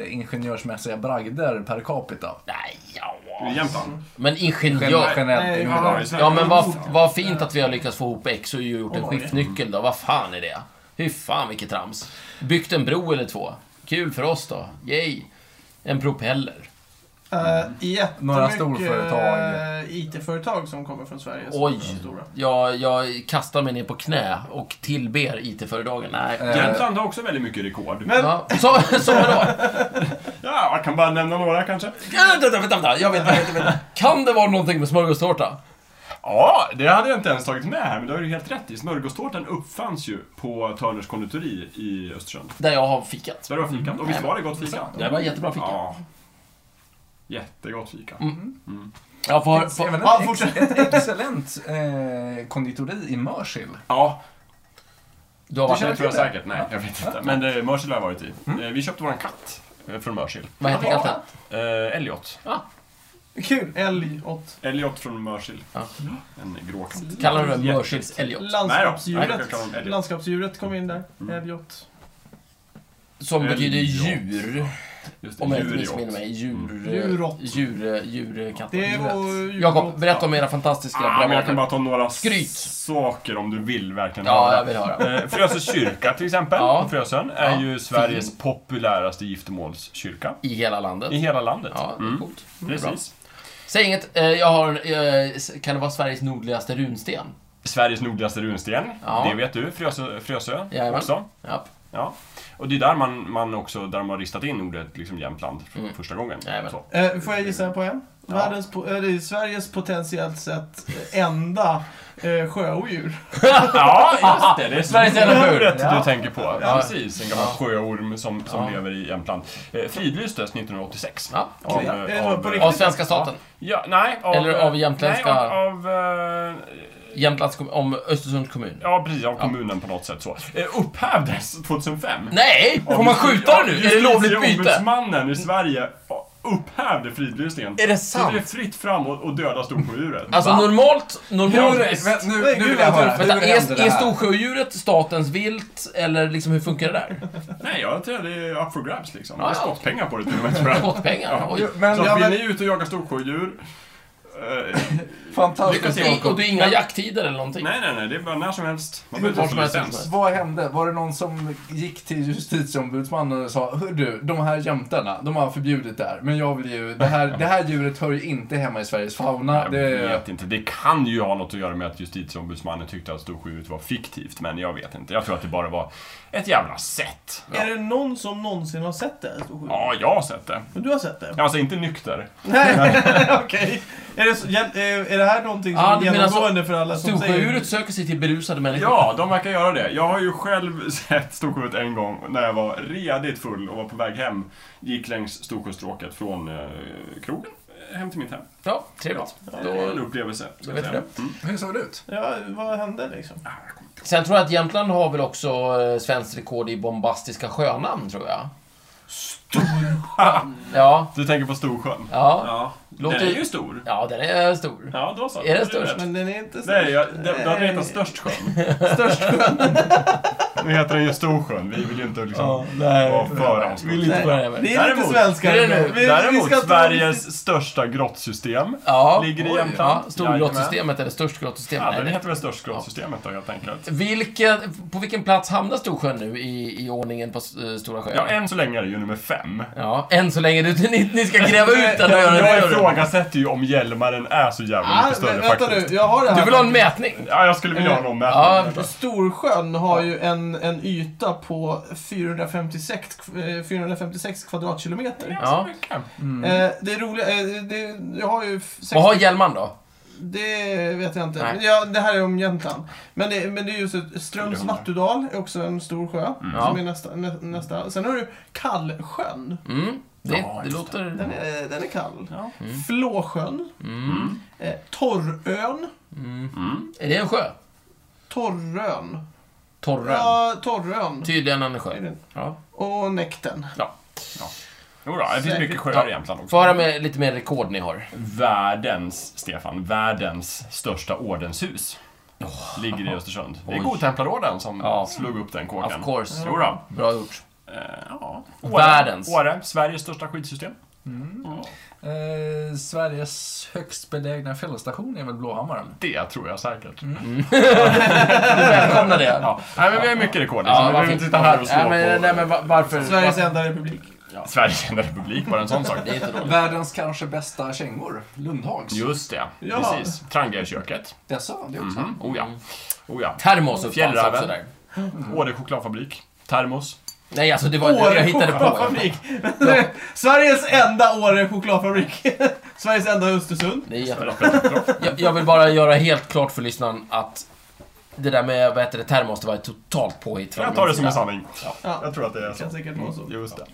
[SPEAKER 5] ingenjörsmässiga bragder per capita.
[SPEAKER 2] Nej, ja,
[SPEAKER 3] I Jämtland?
[SPEAKER 2] Men
[SPEAKER 5] Generellt.
[SPEAKER 2] ingenjör...
[SPEAKER 5] generellt i
[SPEAKER 1] Nej,
[SPEAKER 5] Norrland.
[SPEAKER 3] i Sverige.
[SPEAKER 2] Ja, men vad vad fint att vi har lyckats få ihop X och gjort en skiftnyckel då. Vad fan är det? Hur fan vilket trams. Byggt en bro eller två. Kul för oss då. Yay. En propeller.
[SPEAKER 1] Uh, jättemycket
[SPEAKER 5] Några storföretag.
[SPEAKER 1] eh, IT-företag som kommer från Sverige. som
[SPEAKER 2] Oj.
[SPEAKER 1] är Stora.
[SPEAKER 2] Jag, jag kastar mig ner på knä och tillber IT-företagen. Nej.
[SPEAKER 5] Eh,
[SPEAKER 3] Jämtland har också väldigt mycket rekord.
[SPEAKER 1] Men-
[SPEAKER 2] Ja, så, så vadå?
[SPEAKER 3] Ja, jag kan bara nämna några kanske.
[SPEAKER 2] Ja, Vänta, vänta, vänta. Jag vet, jag vet, jag vet. Kan det vara någonting med smörgåstårta?
[SPEAKER 3] Ja, det hade jag inte ens tagit med här, men det har du helt rätt i. Smörgåstårtan uppfanns ju på Törners konditori i Östersund.
[SPEAKER 2] Där jag har fikat.
[SPEAKER 3] Så det var
[SPEAKER 2] Mm.
[SPEAKER 3] fikat. Och visst var det gott fika?
[SPEAKER 2] Det var jättebra fika. Mm.
[SPEAKER 3] Ja. Jättegott fika.
[SPEAKER 2] Ja, för,
[SPEAKER 5] Finns även
[SPEAKER 2] för,
[SPEAKER 5] ett,
[SPEAKER 1] Ja,
[SPEAKER 5] ex,
[SPEAKER 1] fortsätt.
[SPEAKER 5] ett excellent eh, konditori i Mörsil.
[SPEAKER 3] Ja,
[SPEAKER 2] du har
[SPEAKER 5] Du
[SPEAKER 2] varit
[SPEAKER 5] känner
[SPEAKER 3] det
[SPEAKER 2] där.
[SPEAKER 5] till
[SPEAKER 3] tror jag
[SPEAKER 5] det?
[SPEAKER 3] säkert. Nej, jag vet inte. Men eh, Mörsil har jag varit i.
[SPEAKER 2] Mm.
[SPEAKER 3] Eh, Vi köpte våran katt eh, från Mörsil.
[SPEAKER 2] Vad heter katten?
[SPEAKER 3] Eh, Elliot.
[SPEAKER 1] Kul. Älg åt
[SPEAKER 3] Elliot från Mörsil.
[SPEAKER 2] Ja.
[SPEAKER 3] En grå katt.
[SPEAKER 2] Kallar du det Mörskils Elliot?
[SPEAKER 3] Nej, jag Mm. kan-
[SPEAKER 1] landskapsdjuret.
[SPEAKER 3] Elliot.
[SPEAKER 1] Landskapsdjuret kom in där. Älg åt.
[SPEAKER 2] Som
[SPEAKER 3] Elliot.
[SPEAKER 2] betyder djur.
[SPEAKER 3] Just det,
[SPEAKER 2] Om jag inte
[SPEAKER 3] djur i
[SPEAKER 2] missminner
[SPEAKER 3] åt.
[SPEAKER 2] mig.
[SPEAKER 3] Mm.
[SPEAKER 2] Djur... eh,
[SPEAKER 1] Djurrått.
[SPEAKER 2] Djur... Djurkatter.
[SPEAKER 1] Det var
[SPEAKER 2] Jakob, berätta om era fantastiska
[SPEAKER 3] Ah, men jag
[SPEAKER 2] bravader.
[SPEAKER 3] kan bara ta några
[SPEAKER 2] Skryt.
[SPEAKER 3] saker om du vill verkligen
[SPEAKER 2] Ja,
[SPEAKER 3] höra.
[SPEAKER 2] jag vill höra.
[SPEAKER 3] Eh, Frösö kyrka till exempel,
[SPEAKER 2] Ja.
[SPEAKER 3] på Frösön, är
[SPEAKER 2] Ja.
[SPEAKER 3] ju Sveriges populäraste giftermålskyrka.
[SPEAKER 2] I hela
[SPEAKER 3] I
[SPEAKER 2] landet.
[SPEAKER 3] hela landet.
[SPEAKER 2] Ja, det är
[SPEAKER 3] Mm,
[SPEAKER 2] coolt. Det är bra.
[SPEAKER 3] Precis.
[SPEAKER 2] Säg inget. eh, Jag har en... eh, Kan det vara Sveriges nordligaste runsten?
[SPEAKER 3] Sveriges nordligaste runsten,
[SPEAKER 2] Ja.
[SPEAKER 3] det vet du, Frösö, Frösö
[SPEAKER 2] Jajamän.
[SPEAKER 3] också.
[SPEAKER 2] Ja.
[SPEAKER 3] Ja. Och det är där man, man också, där man har ristat in ordet liksom Jämtland för första gången.
[SPEAKER 2] Mm. Jajamän.
[SPEAKER 3] Så.
[SPEAKER 1] Eh, får jag gissa på en? Världens, po- eh, det är Sveriges potentiellt sett enda eh, sjöodjur.
[SPEAKER 3] Ja, just det! Det
[SPEAKER 2] (laughs)
[SPEAKER 3] är
[SPEAKER 2] Sveriges jävla ful.
[SPEAKER 3] Snurret
[SPEAKER 5] Ja.
[SPEAKER 3] du tänker på.
[SPEAKER 2] Ja.
[SPEAKER 3] Precis, en gammal sjöorm som, som
[SPEAKER 2] Ja.
[SPEAKER 3] lever i Jämtland. Eh, Fridlystes 1986.
[SPEAKER 2] Ja.
[SPEAKER 3] Av,
[SPEAKER 1] Ja.
[SPEAKER 3] eh,
[SPEAKER 1] Är det så på
[SPEAKER 2] Av
[SPEAKER 1] riktigt?
[SPEAKER 2] svenska staten.
[SPEAKER 3] Ja, nej, av,
[SPEAKER 2] Eller av jämtländska-
[SPEAKER 3] Nej, av, av, eh,
[SPEAKER 2] Jämtlands kommun. Om Östersunds kommun.
[SPEAKER 3] ja, precis, av kommunen på något sätt så. Eh, Upphävdes 2005.
[SPEAKER 2] Nej! Får man skjuta det nu? Är det lovligt byte?
[SPEAKER 3] Justitieombudsmannen i Sverige upphävde fridlysningen.
[SPEAKER 2] Är det
[SPEAKER 3] Så det är
[SPEAKER 2] sant?
[SPEAKER 3] fritt fram och, och döda storsjöodjuret.
[SPEAKER 2] Alltså
[SPEAKER 5] Va?
[SPEAKER 2] normalt... normalt
[SPEAKER 5] Vä- nu,
[SPEAKER 1] Nej,
[SPEAKER 5] nu
[SPEAKER 1] gud,
[SPEAKER 5] vill jag
[SPEAKER 1] vad
[SPEAKER 5] höra.
[SPEAKER 1] tur.
[SPEAKER 5] Hur
[SPEAKER 2] Vänta,
[SPEAKER 5] hände
[SPEAKER 2] är,
[SPEAKER 5] det
[SPEAKER 2] är
[SPEAKER 5] här?
[SPEAKER 2] storsjöodjuret statens vilt, eller liksom hur funkar det där?
[SPEAKER 3] Nej, jag tror det är up for grabs liksom.
[SPEAKER 2] Ja,
[SPEAKER 3] det är
[SPEAKER 2] ja.
[SPEAKER 3] skottpengar på det till och
[SPEAKER 2] (laughs)
[SPEAKER 3] med tror jag. Så
[SPEAKER 2] Skottpengar? Oj.
[SPEAKER 5] Men,
[SPEAKER 3] att
[SPEAKER 1] Ja, men-
[SPEAKER 3] vill ni ut och jaga storsjöodjur eh, Lycka
[SPEAKER 5] fantastiskt.
[SPEAKER 3] till.
[SPEAKER 2] Och det är inga jakttider eller någonting?
[SPEAKER 3] Nej, nej, nej, det är bara när som helst. Man
[SPEAKER 5] Hur-
[SPEAKER 3] behöver inte
[SPEAKER 2] var
[SPEAKER 3] ha
[SPEAKER 2] som helst.
[SPEAKER 3] licens.
[SPEAKER 5] Vad hände? Var det någon som gick till justitieombudsmannen och sa Hör du, de här jämtarna, de har förbjudit det här. Men jag vill ju, det här, det här djuret hör ju inte hemma i Sveriges fauna.
[SPEAKER 3] Jag
[SPEAKER 5] Det,
[SPEAKER 3] vet inte. Det kan ju ha något att göra med att justitieombudsmannen tyckte att storsjöodjuret var fiktivt, men jag vet inte. Jag tror att det bara var ett jävla sätt.
[SPEAKER 1] Är det någon som någonsin har sett det? här storsjöodjuret?
[SPEAKER 3] Ja, jag har sett det.
[SPEAKER 1] Men Du har sett det?
[SPEAKER 3] Alltså inte nykter.
[SPEAKER 1] Nej, (laughs) okej. Är, det så- jä- eh, är det här någonting som
[SPEAKER 2] Ja,
[SPEAKER 1] är
[SPEAKER 2] du menar
[SPEAKER 1] genomgående för alla som säger...
[SPEAKER 2] Storsjöodjuret söker sig till berusade människor.
[SPEAKER 3] Ja, de verkar göra det. Jag har ju själv (laughs) sett Storsjöodjuret en gång när jag var redigt full och var på väg hem. Gick längs Storsjöstråket från eh, krogen eh, hem till mitt hem.
[SPEAKER 2] Ja, trevligt.
[SPEAKER 3] Det var en
[SPEAKER 2] Då,
[SPEAKER 3] upplevelse.
[SPEAKER 2] då
[SPEAKER 3] Ska jag
[SPEAKER 2] vet vi
[SPEAKER 3] säga. Mm.
[SPEAKER 2] det.
[SPEAKER 5] hur såg det ut?
[SPEAKER 1] Ja, vad hände liksom?
[SPEAKER 2] Sen tror jag att Jämtland har väl också eh, svenskt rekord i bombastiska sjönamn, tror jag. Storsjön! Ja,
[SPEAKER 3] Du tänker på Storsjön?
[SPEAKER 2] ja.
[SPEAKER 3] Ja.
[SPEAKER 2] Låter-
[SPEAKER 3] Den är ju stor.
[SPEAKER 2] Ja, den är stor.
[SPEAKER 3] Ja, då så.
[SPEAKER 2] Är den störst?
[SPEAKER 1] Men den är inte så...
[SPEAKER 3] Nej, jag, det, det hade hetat Störst-sjön.
[SPEAKER 2] (laughs)
[SPEAKER 3] Nu heter den ju Storsjön. Vi vill ju inte liksom vara för avsnitt.
[SPEAKER 1] Nej,
[SPEAKER 2] börja med.
[SPEAKER 1] Det är
[SPEAKER 3] Däremot-
[SPEAKER 1] lite svenskare
[SPEAKER 2] Det är det nu.
[SPEAKER 1] Vi- vi
[SPEAKER 3] Däremot,
[SPEAKER 1] ska inte-
[SPEAKER 3] Sveriges största grottsystem.
[SPEAKER 2] Ja.
[SPEAKER 3] Ligger i
[SPEAKER 2] Oj,
[SPEAKER 3] Jämtland.
[SPEAKER 2] Ja, storgrottsystemet eller störstgrottssystemet.
[SPEAKER 3] Ja,
[SPEAKER 2] Nej,
[SPEAKER 3] den
[SPEAKER 2] det-
[SPEAKER 3] heter väl Störstgrottssystemet då, helt enkelt.
[SPEAKER 2] Vilken, på vilken plats hamnar Storsjön nu i, i ordningen på eh, Stora sjön?
[SPEAKER 3] Ja, än så länge är det ju nummer fem.
[SPEAKER 2] Ja, än så länge. Du, ni, ni ska gräva ut den och göra
[SPEAKER 3] Jag
[SPEAKER 2] den större.
[SPEAKER 3] ifrågasätter ju om Hjälmaren är så jävla
[SPEAKER 1] Ah,
[SPEAKER 3] mycket större
[SPEAKER 1] vänta
[SPEAKER 3] faktiskt.
[SPEAKER 1] nu, jag har det här.
[SPEAKER 2] Du vill ha en mätning?
[SPEAKER 3] Ja, jag skulle vilja ha en
[SPEAKER 2] Ja,
[SPEAKER 3] ommätning.
[SPEAKER 1] Storsjön har ju en, en yta på 456, eh, 456 kvadratkilometer.
[SPEAKER 2] Ja.
[SPEAKER 3] Mm.
[SPEAKER 1] Eh, det är roliga, eh, det, jag har ju... f-
[SPEAKER 2] Vad har Hjälman då?
[SPEAKER 1] Det vet jag inte.
[SPEAKER 2] Nej.
[SPEAKER 1] Men Ja, det här är om Jämtland. Men det, men det är just ett- Ströms Vattudal är också en stor sjö.
[SPEAKER 3] Mm.
[SPEAKER 1] Som
[SPEAKER 2] Ja.
[SPEAKER 1] är nästa, nä, nästa. Sen har du Kallsjön.
[SPEAKER 2] Mm, det,
[SPEAKER 3] Ja,
[SPEAKER 2] det
[SPEAKER 3] just
[SPEAKER 1] Den
[SPEAKER 2] låter...
[SPEAKER 1] är, den är kall.
[SPEAKER 3] Ja.
[SPEAKER 1] Flåsjön.
[SPEAKER 2] Mm.
[SPEAKER 1] Eh, Torrön.
[SPEAKER 2] Är det en sjö?
[SPEAKER 1] Torrön.
[SPEAKER 2] Torrön.
[SPEAKER 1] Ja, Torrön.
[SPEAKER 2] Tydligen en sjö.
[SPEAKER 1] Är det.
[SPEAKER 2] Ja.
[SPEAKER 1] Och Näkten.
[SPEAKER 3] Jodå, det finns mycket sjöar i Jämtland
[SPEAKER 2] Få höra
[SPEAKER 3] också.
[SPEAKER 2] med, lite mer rekord ni har.
[SPEAKER 3] Världens, Stefan, världens största ordenshus. Ligger i Östersund. Det är
[SPEAKER 2] Oj.
[SPEAKER 3] Godtemplarorden som
[SPEAKER 2] Ja.
[SPEAKER 3] slog upp den kåken.
[SPEAKER 2] Of course.
[SPEAKER 3] Jodå.
[SPEAKER 2] Bra gjort.
[SPEAKER 3] Eh, ja.
[SPEAKER 2] Världens.
[SPEAKER 3] Åre, Åre, Sveriges största skidsystem.
[SPEAKER 5] Mm.
[SPEAKER 3] Ja.
[SPEAKER 5] Eh, Sveriges högst belägna fjällstation är väl Blåhammaren?
[SPEAKER 3] Det tror jag säkert.
[SPEAKER 2] Välkomna det.
[SPEAKER 3] (laughs) Ja. Nej, men vi har mycket rekord. Liksom.
[SPEAKER 2] Ja,
[SPEAKER 3] vi behöver
[SPEAKER 2] varför-
[SPEAKER 3] inte sitta här och slå
[SPEAKER 5] nej, men,
[SPEAKER 3] på... eh,
[SPEAKER 5] nej, men va- varför?
[SPEAKER 1] Sveriges
[SPEAKER 5] va-
[SPEAKER 1] enda republik.
[SPEAKER 3] Sveriges enda republik, bara en sån sak.
[SPEAKER 2] Det är inte dåligt.
[SPEAKER 5] Världens kanske bästa kängor, Lundhags.
[SPEAKER 3] Just det,
[SPEAKER 1] Ja.
[SPEAKER 3] precis. Trangiaköket.
[SPEAKER 5] Jaså, det också?
[SPEAKER 3] Mm. Oh ja. Oh, ja.
[SPEAKER 2] Termos uppfanns
[SPEAKER 3] Fjällräven.
[SPEAKER 2] också där.
[SPEAKER 3] Åre chokladfabrik. Termos.
[SPEAKER 2] Nej, alltså det var det jag
[SPEAKER 1] Åre
[SPEAKER 2] hittade på.
[SPEAKER 1] chokladfabrik. (laughs) Sveriges enda Åre chokladfabrik. (laughs) Sveriges enda Östersund.
[SPEAKER 2] Det är jättebra.
[SPEAKER 3] Rappelte.
[SPEAKER 2] Jag, jag vill bara göra helt klart för lyssnaren att det där med vad heter det, termos, det var ett totalt påhitt från
[SPEAKER 3] Jag tar det
[SPEAKER 2] min
[SPEAKER 3] som en
[SPEAKER 2] sida.
[SPEAKER 3] sanning.
[SPEAKER 1] Ja.
[SPEAKER 3] Jag tror att det är
[SPEAKER 1] Det kan
[SPEAKER 3] så.
[SPEAKER 1] säkert vara så.
[SPEAKER 3] Just det.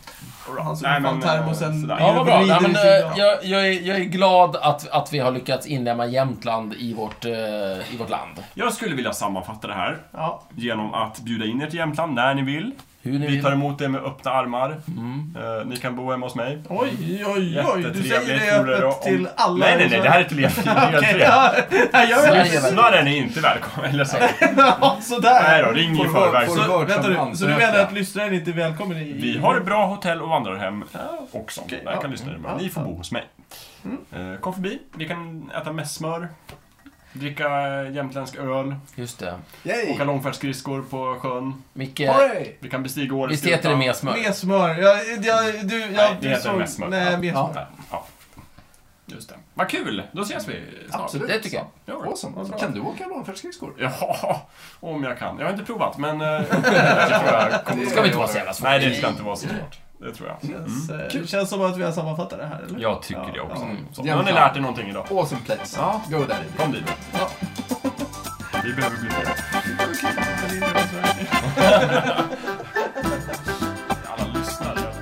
[SPEAKER 1] Han såg
[SPEAKER 3] Nej,
[SPEAKER 1] fan
[SPEAKER 3] men, eh,
[SPEAKER 1] termosen.
[SPEAKER 3] sådär.
[SPEAKER 2] Ja, vad bra. Nej, men, eh,
[SPEAKER 1] Ja.
[SPEAKER 2] jag, jag, är, jag är glad att, att vi har lyckats inlemma Jämtland i vårt, eh, i vårt land.
[SPEAKER 3] Jag skulle vilja sammanfatta det här
[SPEAKER 1] Ja.
[SPEAKER 3] genom att bjuda in er till Jämtland när ni vill.
[SPEAKER 2] Hur ni
[SPEAKER 3] Vi
[SPEAKER 2] vill.
[SPEAKER 3] tar emot er med öppna armar. Eh, ni kan bo hemma hos mig.
[SPEAKER 1] Oj, Mm. oj, oj. Du
[SPEAKER 3] Jättetrevligt
[SPEAKER 1] säger det
[SPEAKER 3] vore det
[SPEAKER 1] öppet
[SPEAKER 3] om-
[SPEAKER 1] till alla.
[SPEAKER 3] Nej, nej, nej, det här är ett levt
[SPEAKER 1] (laughs) Okej, ja. Nej, jag vet
[SPEAKER 2] Sverige.
[SPEAKER 1] inte.
[SPEAKER 3] Lyssnaren är inte välkommen. Eller så.
[SPEAKER 1] (laughs) Ja, Sådär.
[SPEAKER 3] Nej då, ring i
[SPEAKER 5] Får vara-
[SPEAKER 3] förväg.
[SPEAKER 5] får
[SPEAKER 3] Så-
[SPEAKER 5] vara-
[SPEAKER 1] Så, vänta
[SPEAKER 5] Som
[SPEAKER 1] nu, så du
[SPEAKER 5] ansöka.
[SPEAKER 1] menar att lyssnaren inte är välkommen i...
[SPEAKER 3] Vi har bra hotell och vandrarhem också.
[SPEAKER 1] okej,
[SPEAKER 3] Där
[SPEAKER 1] ja.
[SPEAKER 3] kan lyssnare
[SPEAKER 1] Ja,
[SPEAKER 3] med. Ni får bo hos mig. Eh, Kom förbi. Vi kan äta mässmör. Dricka eh, jämtländsk öl.
[SPEAKER 2] Just det.
[SPEAKER 5] Yay!
[SPEAKER 3] Åka långfärdsskridskor på sjön.
[SPEAKER 2] Micke,
[SPEAKER 5] Hooray!
[SPEAKER 3] Vi kan bestiga Årets
[SPEAKER 2] visst heter det
[SPEAKER 3] skuta.
[SPEAKER 2] mer smör?
[SPEAKER 1] Med smör. Jag, jag, du, jag,
[SPEAKER 3] Nej, det
[SPEAKER 1] du
[SPEAKER 3] heter
[SPEAKER 1] såg-
[SPEAKER 3] mest smör.
[SPEAKER 1] Nej,
[SPEAKER 3] Ja.
[SPEAKER 1] med
[SPEAKER 5] Ja.
[SPEAKER 1] smör.
[SPEAKER 3] Ja. Ja. Just det. Vad kul! Då ses vi snart.
[SPEAKER 5] Absolut.
[SPEAKER 2] Det tycker jag.
[SPEAKER 3] Det gör vi.
[SPEAKER 5] Awesome. Kan du åka långfärdsskridskor?
[SPEAKER 3] Ja, om jag kan. Jag har inte provat, men... eh, jag tror
[SPEAKER 5] (laughs)
[SPEAKER 3] jag kommer-
[SPEAKER 2] Det ska vi inte vara så jävla svårt.
[SPEAKER 3] Nej, det ska inte vara så svårt. Det tror jag.
[SPEAKER 1] Känns, eh, känns som att vi har sammanfattat det här, eller?
[SPEAKER 3] Mm. Jag tycker det
[SPEAKER 1] Ja,
[SPEAKER 3] också. Mm.
[SPEAKER 1] ja.
[SPEAKER 3] Så, nu har ni lärt er någonting idag.
[SPEAKER 5] Awesome place.
[SPEAKER 3] Ja.
[SPEAKER 5] Go där.
[SPEAKER 3] Kom dit.
[SPEAKER 1] Ja.
[SPEAKER 3] Vi behöver bli fler.
[SPEAKER 1] det är bra, Sverige.
[SPEAKER 3] alla lyssnare.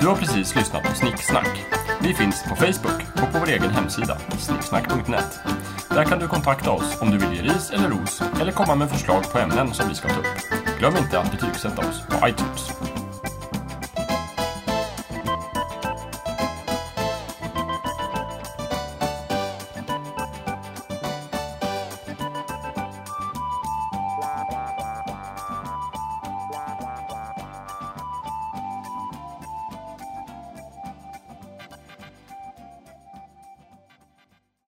[SPEAKER 3] Du har precis lyssnat på Snicksnack. Vi finns på Facebook och på vår egen hemsida, snicksnack.net. Där kan du kontakta oss om du vill ge ris eller ros eller komma med förslag på ämnen som vi ska ta upp. Glöm inte att betygsätta oss på iTunes.